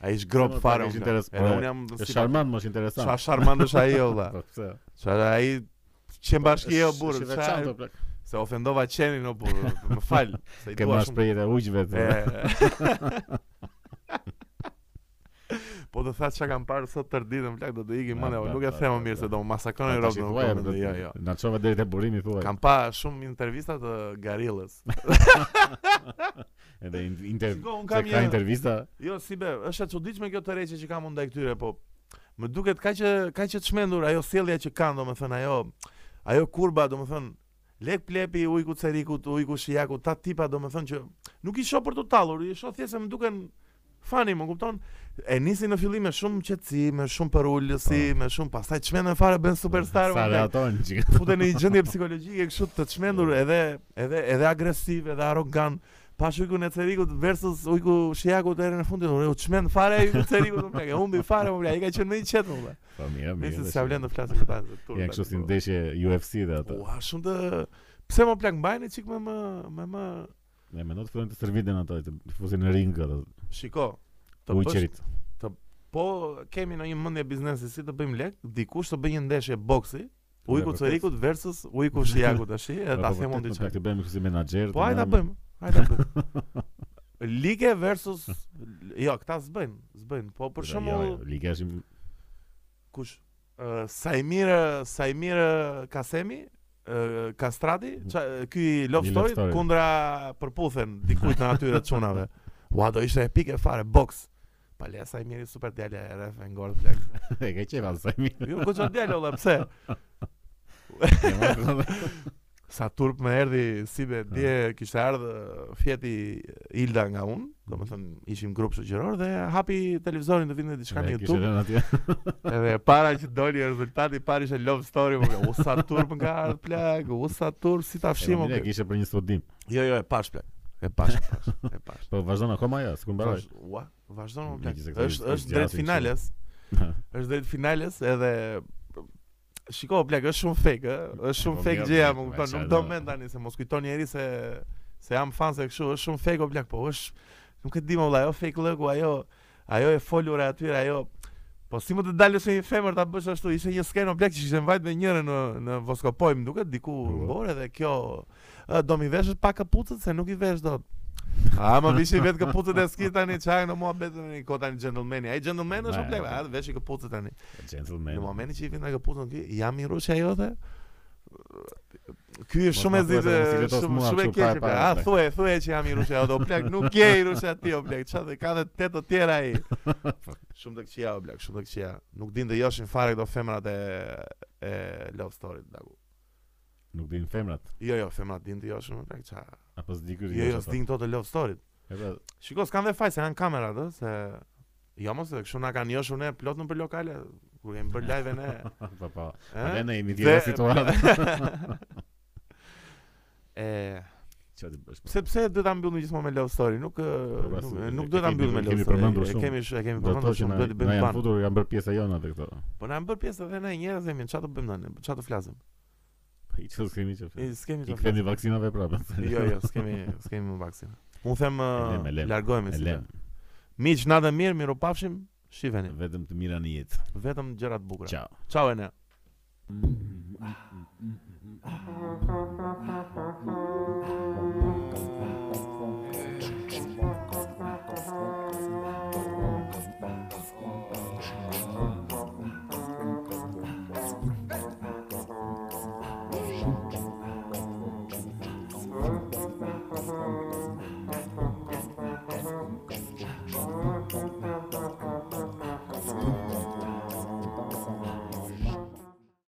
Speaker 1: ai është grop
Speaker 2: Po, po,
Speaker 1: fare.
Speaker 2: ishte
Speaker 1: më plak.
Speaker 2: interes-
Speaker 1: Edhe
Speaker 2: po,
Speaker 1: unë jam
Speaker 2: Është charmant, më është interesant.
Speaker 1: Sa sharmand është ai jo, olla.
Speaker 2: Po pse?
Speaker 1: Sa ai qen bashki jo
Speaker 2: Është-
Speaker 1: burr,
Speaker 2: është i
Speaker 1: sa
Speaker 2: veçantë, plak.
Speaker 1: se ofendova qenin o burr. Më fal, se i
Speaker 2: Ke
Speaker 1: dua
Speaker 2: marrë
Speaker 1: shumë.
Speaker 2: shprehjet e ujqve të.
Speaker 1: E. Po të thatë çka kam parë sot tër ditën, plak do të ikim
Speaker 2: Na,
Speaker 1: mendja, po
Speaker 2: bra,
Speaker 1: nuk e
Speaker 2: bra,
Speaker 1: them më
Speaker 2: bra,
Speaker 1: mirë se
Speaker 2: bra.
Speaker 1: do më masakroni
Speaker 2: Ah, Tash i
Speaker 1: rrobën.
Speaker 2: thuaj,
Speaker 1: po,
Speaker 2: do-
Speaker 1: Jo, jo.
Speaker 2: Na çova deri te burimi thuaj.
Speaker 1: Kam pa shumë intervista të Garillës.
Speaker 2: Edhe in- inter
Speaker 1: Shiko, un
Speaker 2: se ka
Speaker 1: kam një
Speaker 2: intervista.
Speaker 1: Jo, si be, është e çuditshme kjo tërheqje që kam unë ndaj këtyre, po më duket kaq që kaq që të çmendur ajo sjellja që kanë, domethënë ajo ajo kurba, domethënë lek plepi, ujku cerikut, ujku shijakut, ta tipa domethënë që nuk i shoh për të tallur, i shoh thjesht se më duken Fani, më kupton? E nisi në fillim me shumë qetësi, me shumë përulësi, me shumë pastaj çmendën fare bën superstar.
Speaker 2: Sa
Speaker 1: më thënë.
Speaker 2: reaton çik.
Speaker 1: Futen në një gjendje psikologjike kështu të çmendur edhe edhe edhe agresiv, edhe arrogant. Pash ujkun e Cerikut versus ujku Shijakut deri në fundin, ore u çmend fare ujku Cerikut, më plak, e humbi fare, më plak, ai ka qenë më i qetë më. plak.
Speaker 2: Po mirë, mirë.
Speaker 1: Nëse
Speaker 2: dhe
Speaker 1: s'ka
Speaker 2: shumë.
Speaker 1: vlen të flasim këta të turp.
Speaker 2: Ja kështu si ndeshje UFC dhe ata.
Speaker 1: Ua, shumë të Pse më plak mbajnë çik më më më më
Speaker 2: Ne mendon të fillojnë të stërviten ata, të fusin në ring ata.
Speaker 1: shiko.
Speaker 2: Të
Speaker 1: bësh
Speaker 2: uqerit.
Speaker 1: po kemi në një mendje biznesi si të bëjmë lek, dikush të bëjë një ndeshje boksi, Ujku
Speaker 2: vërtet.
Speaker 1: Cerikut versus Ujku Shijakut tash, e ta them unë diçka.
Speaker 2: Të bëjmë kështu si menaxher.
Speaker 1: Po hajde ta bëjmë, hajde ta bëjmë. Lige versus jo, këta s'bëjnë, s'bëjnë. Po
Speaker 2: Jo,
Speaker 1: për shembull,
Speaker 2: liga është
Speaker 1: kush? Ë Sajmir, Sajmir ë, Kasemi, ë, Kastrati, qa- ky Mm. love
Speaker 2: Një
Speaker 1: story
Speaker 2: love story.
Speaker 1: kundra përputhen dikujt në atyre çunave. Ua do ishte epike fare box. Pale Sajmiri super djalë e rreth e ngordh plak.
Speaker 2: e ka qenë asaj mirë.
Speaker 1: Jo goxha djalë olla pse?
Speaker 2: E marrë-
Speaker 1: Sa turp më erdhi si be dje kishte ardhë fjeti Ilda nga unë, domethënë ishim grup shoqëror dhe hapi televizorin të vinte diçka
Speaker 2: Dhe
Speaker 1: në
Speaker 2: kishte
Speaker 1: YouTube.
Speaker 2: rënë atje.
Speaker 1: Edhe para që doli rezultati, para ishte love story, më u sa turp nga ardh plak, u sa turp si ta fshim.
Speaker 2: E,
Speaker 1: o,
Speaker 2: mire,
Speaker 1: plak.
Speaker 2: Kishte për një studim.
Speaker 1: Jo, jo, e pash plak. E pash, e pash, e pash.
Speaker 2: Po vazhdon akoma ja, s'ku mbaroj.
Speaker 1: Vazh- Ua, vazhdon më plak.
Speaker 2: Megjithëse këto i-
Speaker 1: Është
Speaker 2: i
Speaker 1: është drejt
Speaker 2: zgjasin
Speaker 1: finales, është drejt finales edhe Shiko plak, është shumë fake, ë? Është shumë
Speaker 2: Po,
Speaker 1: fake
Speaker 2: mirë,
Speaker 1: gjëja,
Speaker 2: mirë,
Speaker 1: më
Speaker 2: mirë,
Speaker 1: kupton, nuk
Speaker 2: qartë,
Speaker 1: do
Speaker 2: do.
Speaker 1: mend tani se mos kujton njerëj se se jam fan se kështu, është shumë fake o plak, po është nuk e di më vëlla, ajo fake lëku, ajo ajo e folur e aty, ajo Po si më të dalësh me një femër ta bësh ashtu, ishte një skenë o plak që ishte mbajt me njërin në në Voskopoj, më duket diku
Speaker 2: Po.
Speaker 1: në Borë dhe kjo "Ë, do mi veshësh pa kapucët se nuk i vesh dot. A më vishi vetë kapucët e skit tani çaj në mua betën një kohë tani gentlemani. Ai gentleman është
Speaker 2: Ne,
Speaker 1: o plak,
Speaker 2: po.
Speaker 1: a vesh i kapucët tani.
Speaker 2: Gentleman.
Speaker 1: Në momentin që i vjen nga kapucën ky, jam i rushja jote. Ky është
Speaker 2: Mos
Speaker 1: shumë
Speaker 2: ma
Speaker 1: e
Speaker 2: thuaj se
Speaker 1: zitë,
Speaker 2: mos i letos
Speaker 1: shumë
Speaker 2: mua
Speaker 1: shumë e
Speaker 2: kështu
Speaker 1: keq.
Speaker 2: pa-
Speaker 1: pra.
Speaker 2: pa-
Speaker 1: A
Speaker 2: pa.
Speaker 1: thuaj, thuaj që jam i rushja jote, o plak, nuk je i rushja ti, o plak. Çfarë ka dhe tetë të tjera ai. Shumë të këqija, o plak, shumë të këqija. Nuk din të joshin fare këto femrat e e love story blaku.
Speaker 2: Nuk din femrat.
Speaker 1: Jo, jo, femrat din të joshin, o plak, ça.
Speaker 2: Apo s'di ky.
Speaker 1: Jo, jo, s'din këto të love story. Shiko, s'kan dhe faj se janë kamerat, ë, se jo mos edhe kështu na kanë joshur ne plot në për lokale kur kemi bërë live ne.
Speaker 2: Po po.
Speaker 1: ë?
Speaker 2: Ale ne jemi
Speaker 1: Eh?
Speaker 2: tjetër
Speaker 1: Dhe-
Speaker 2: situatë.
Speaker 1: E,
Speaker 2: Çfarë të bësh? po?
Speaker 1: pse pse duhet ta mbyllim gjithmonë me love story? Nuk ë,
Speaker 2: Po,
Speaker 1: nuk,
Speaker 2: pra,
Speaker 1: nuk
Speaker 2: e
Speaker 1: duhet ta
Speaker 2: kemi-
Speaker 1: mbyllim me
Speaker 2: e
Speaker 1: love
Speaker 2: kemi
Speaker 1: story.
Speaker 2: përmendur
Speaker 1: E
Speaker 2: shumë.
Speaker 1: kemi sh- e kemi
Speaker 2: Do të
Speaker 1: përmendur
Speaker 2: thotë që
Speaker 1: shumë,
Speaker 2: na-
Speaker 1: duhet të
Speaker 2: na
Speaker 1: bëjmë
Speaker 2: janë
Speaker 1: ban.
Speaker 2: futur, janë bërë pjesa jona tak atë këto.
Speaker 1: Po na janë bërë pjesë edhe ne njerëz jemi, çfarë të bëjmë tani? Çfarë të flasim?
Speaker 2: Po, I çfarë kemi çfarë?
Speaker 1: E, S'kemi
Speaker 2: I
Speaker 1: çfarë.
Speaker 2: kthemi vaksinave prapë.
Speaker 1: flasim. Jo, jo, s'kemi, s'kemi më vaksinë. Unë them ë,
Speaker 2: E lem, e lem,
Speaker 1: largohemi
Speaker 2: E
Speaker 1: si.
Speaker 2: lem,
Speaker 1: ne. Miq, natë e mirë, miru pafshim. Shiveni,
Speaker 2: vetëm të mira në jetë.
Speaker 1: vetëm gjëra të bukura.
Speaker 2: Ciao.
Speaker 1: Ciao e ne.
Speaker 2: Mm, mm, mm, mm, mm, mm.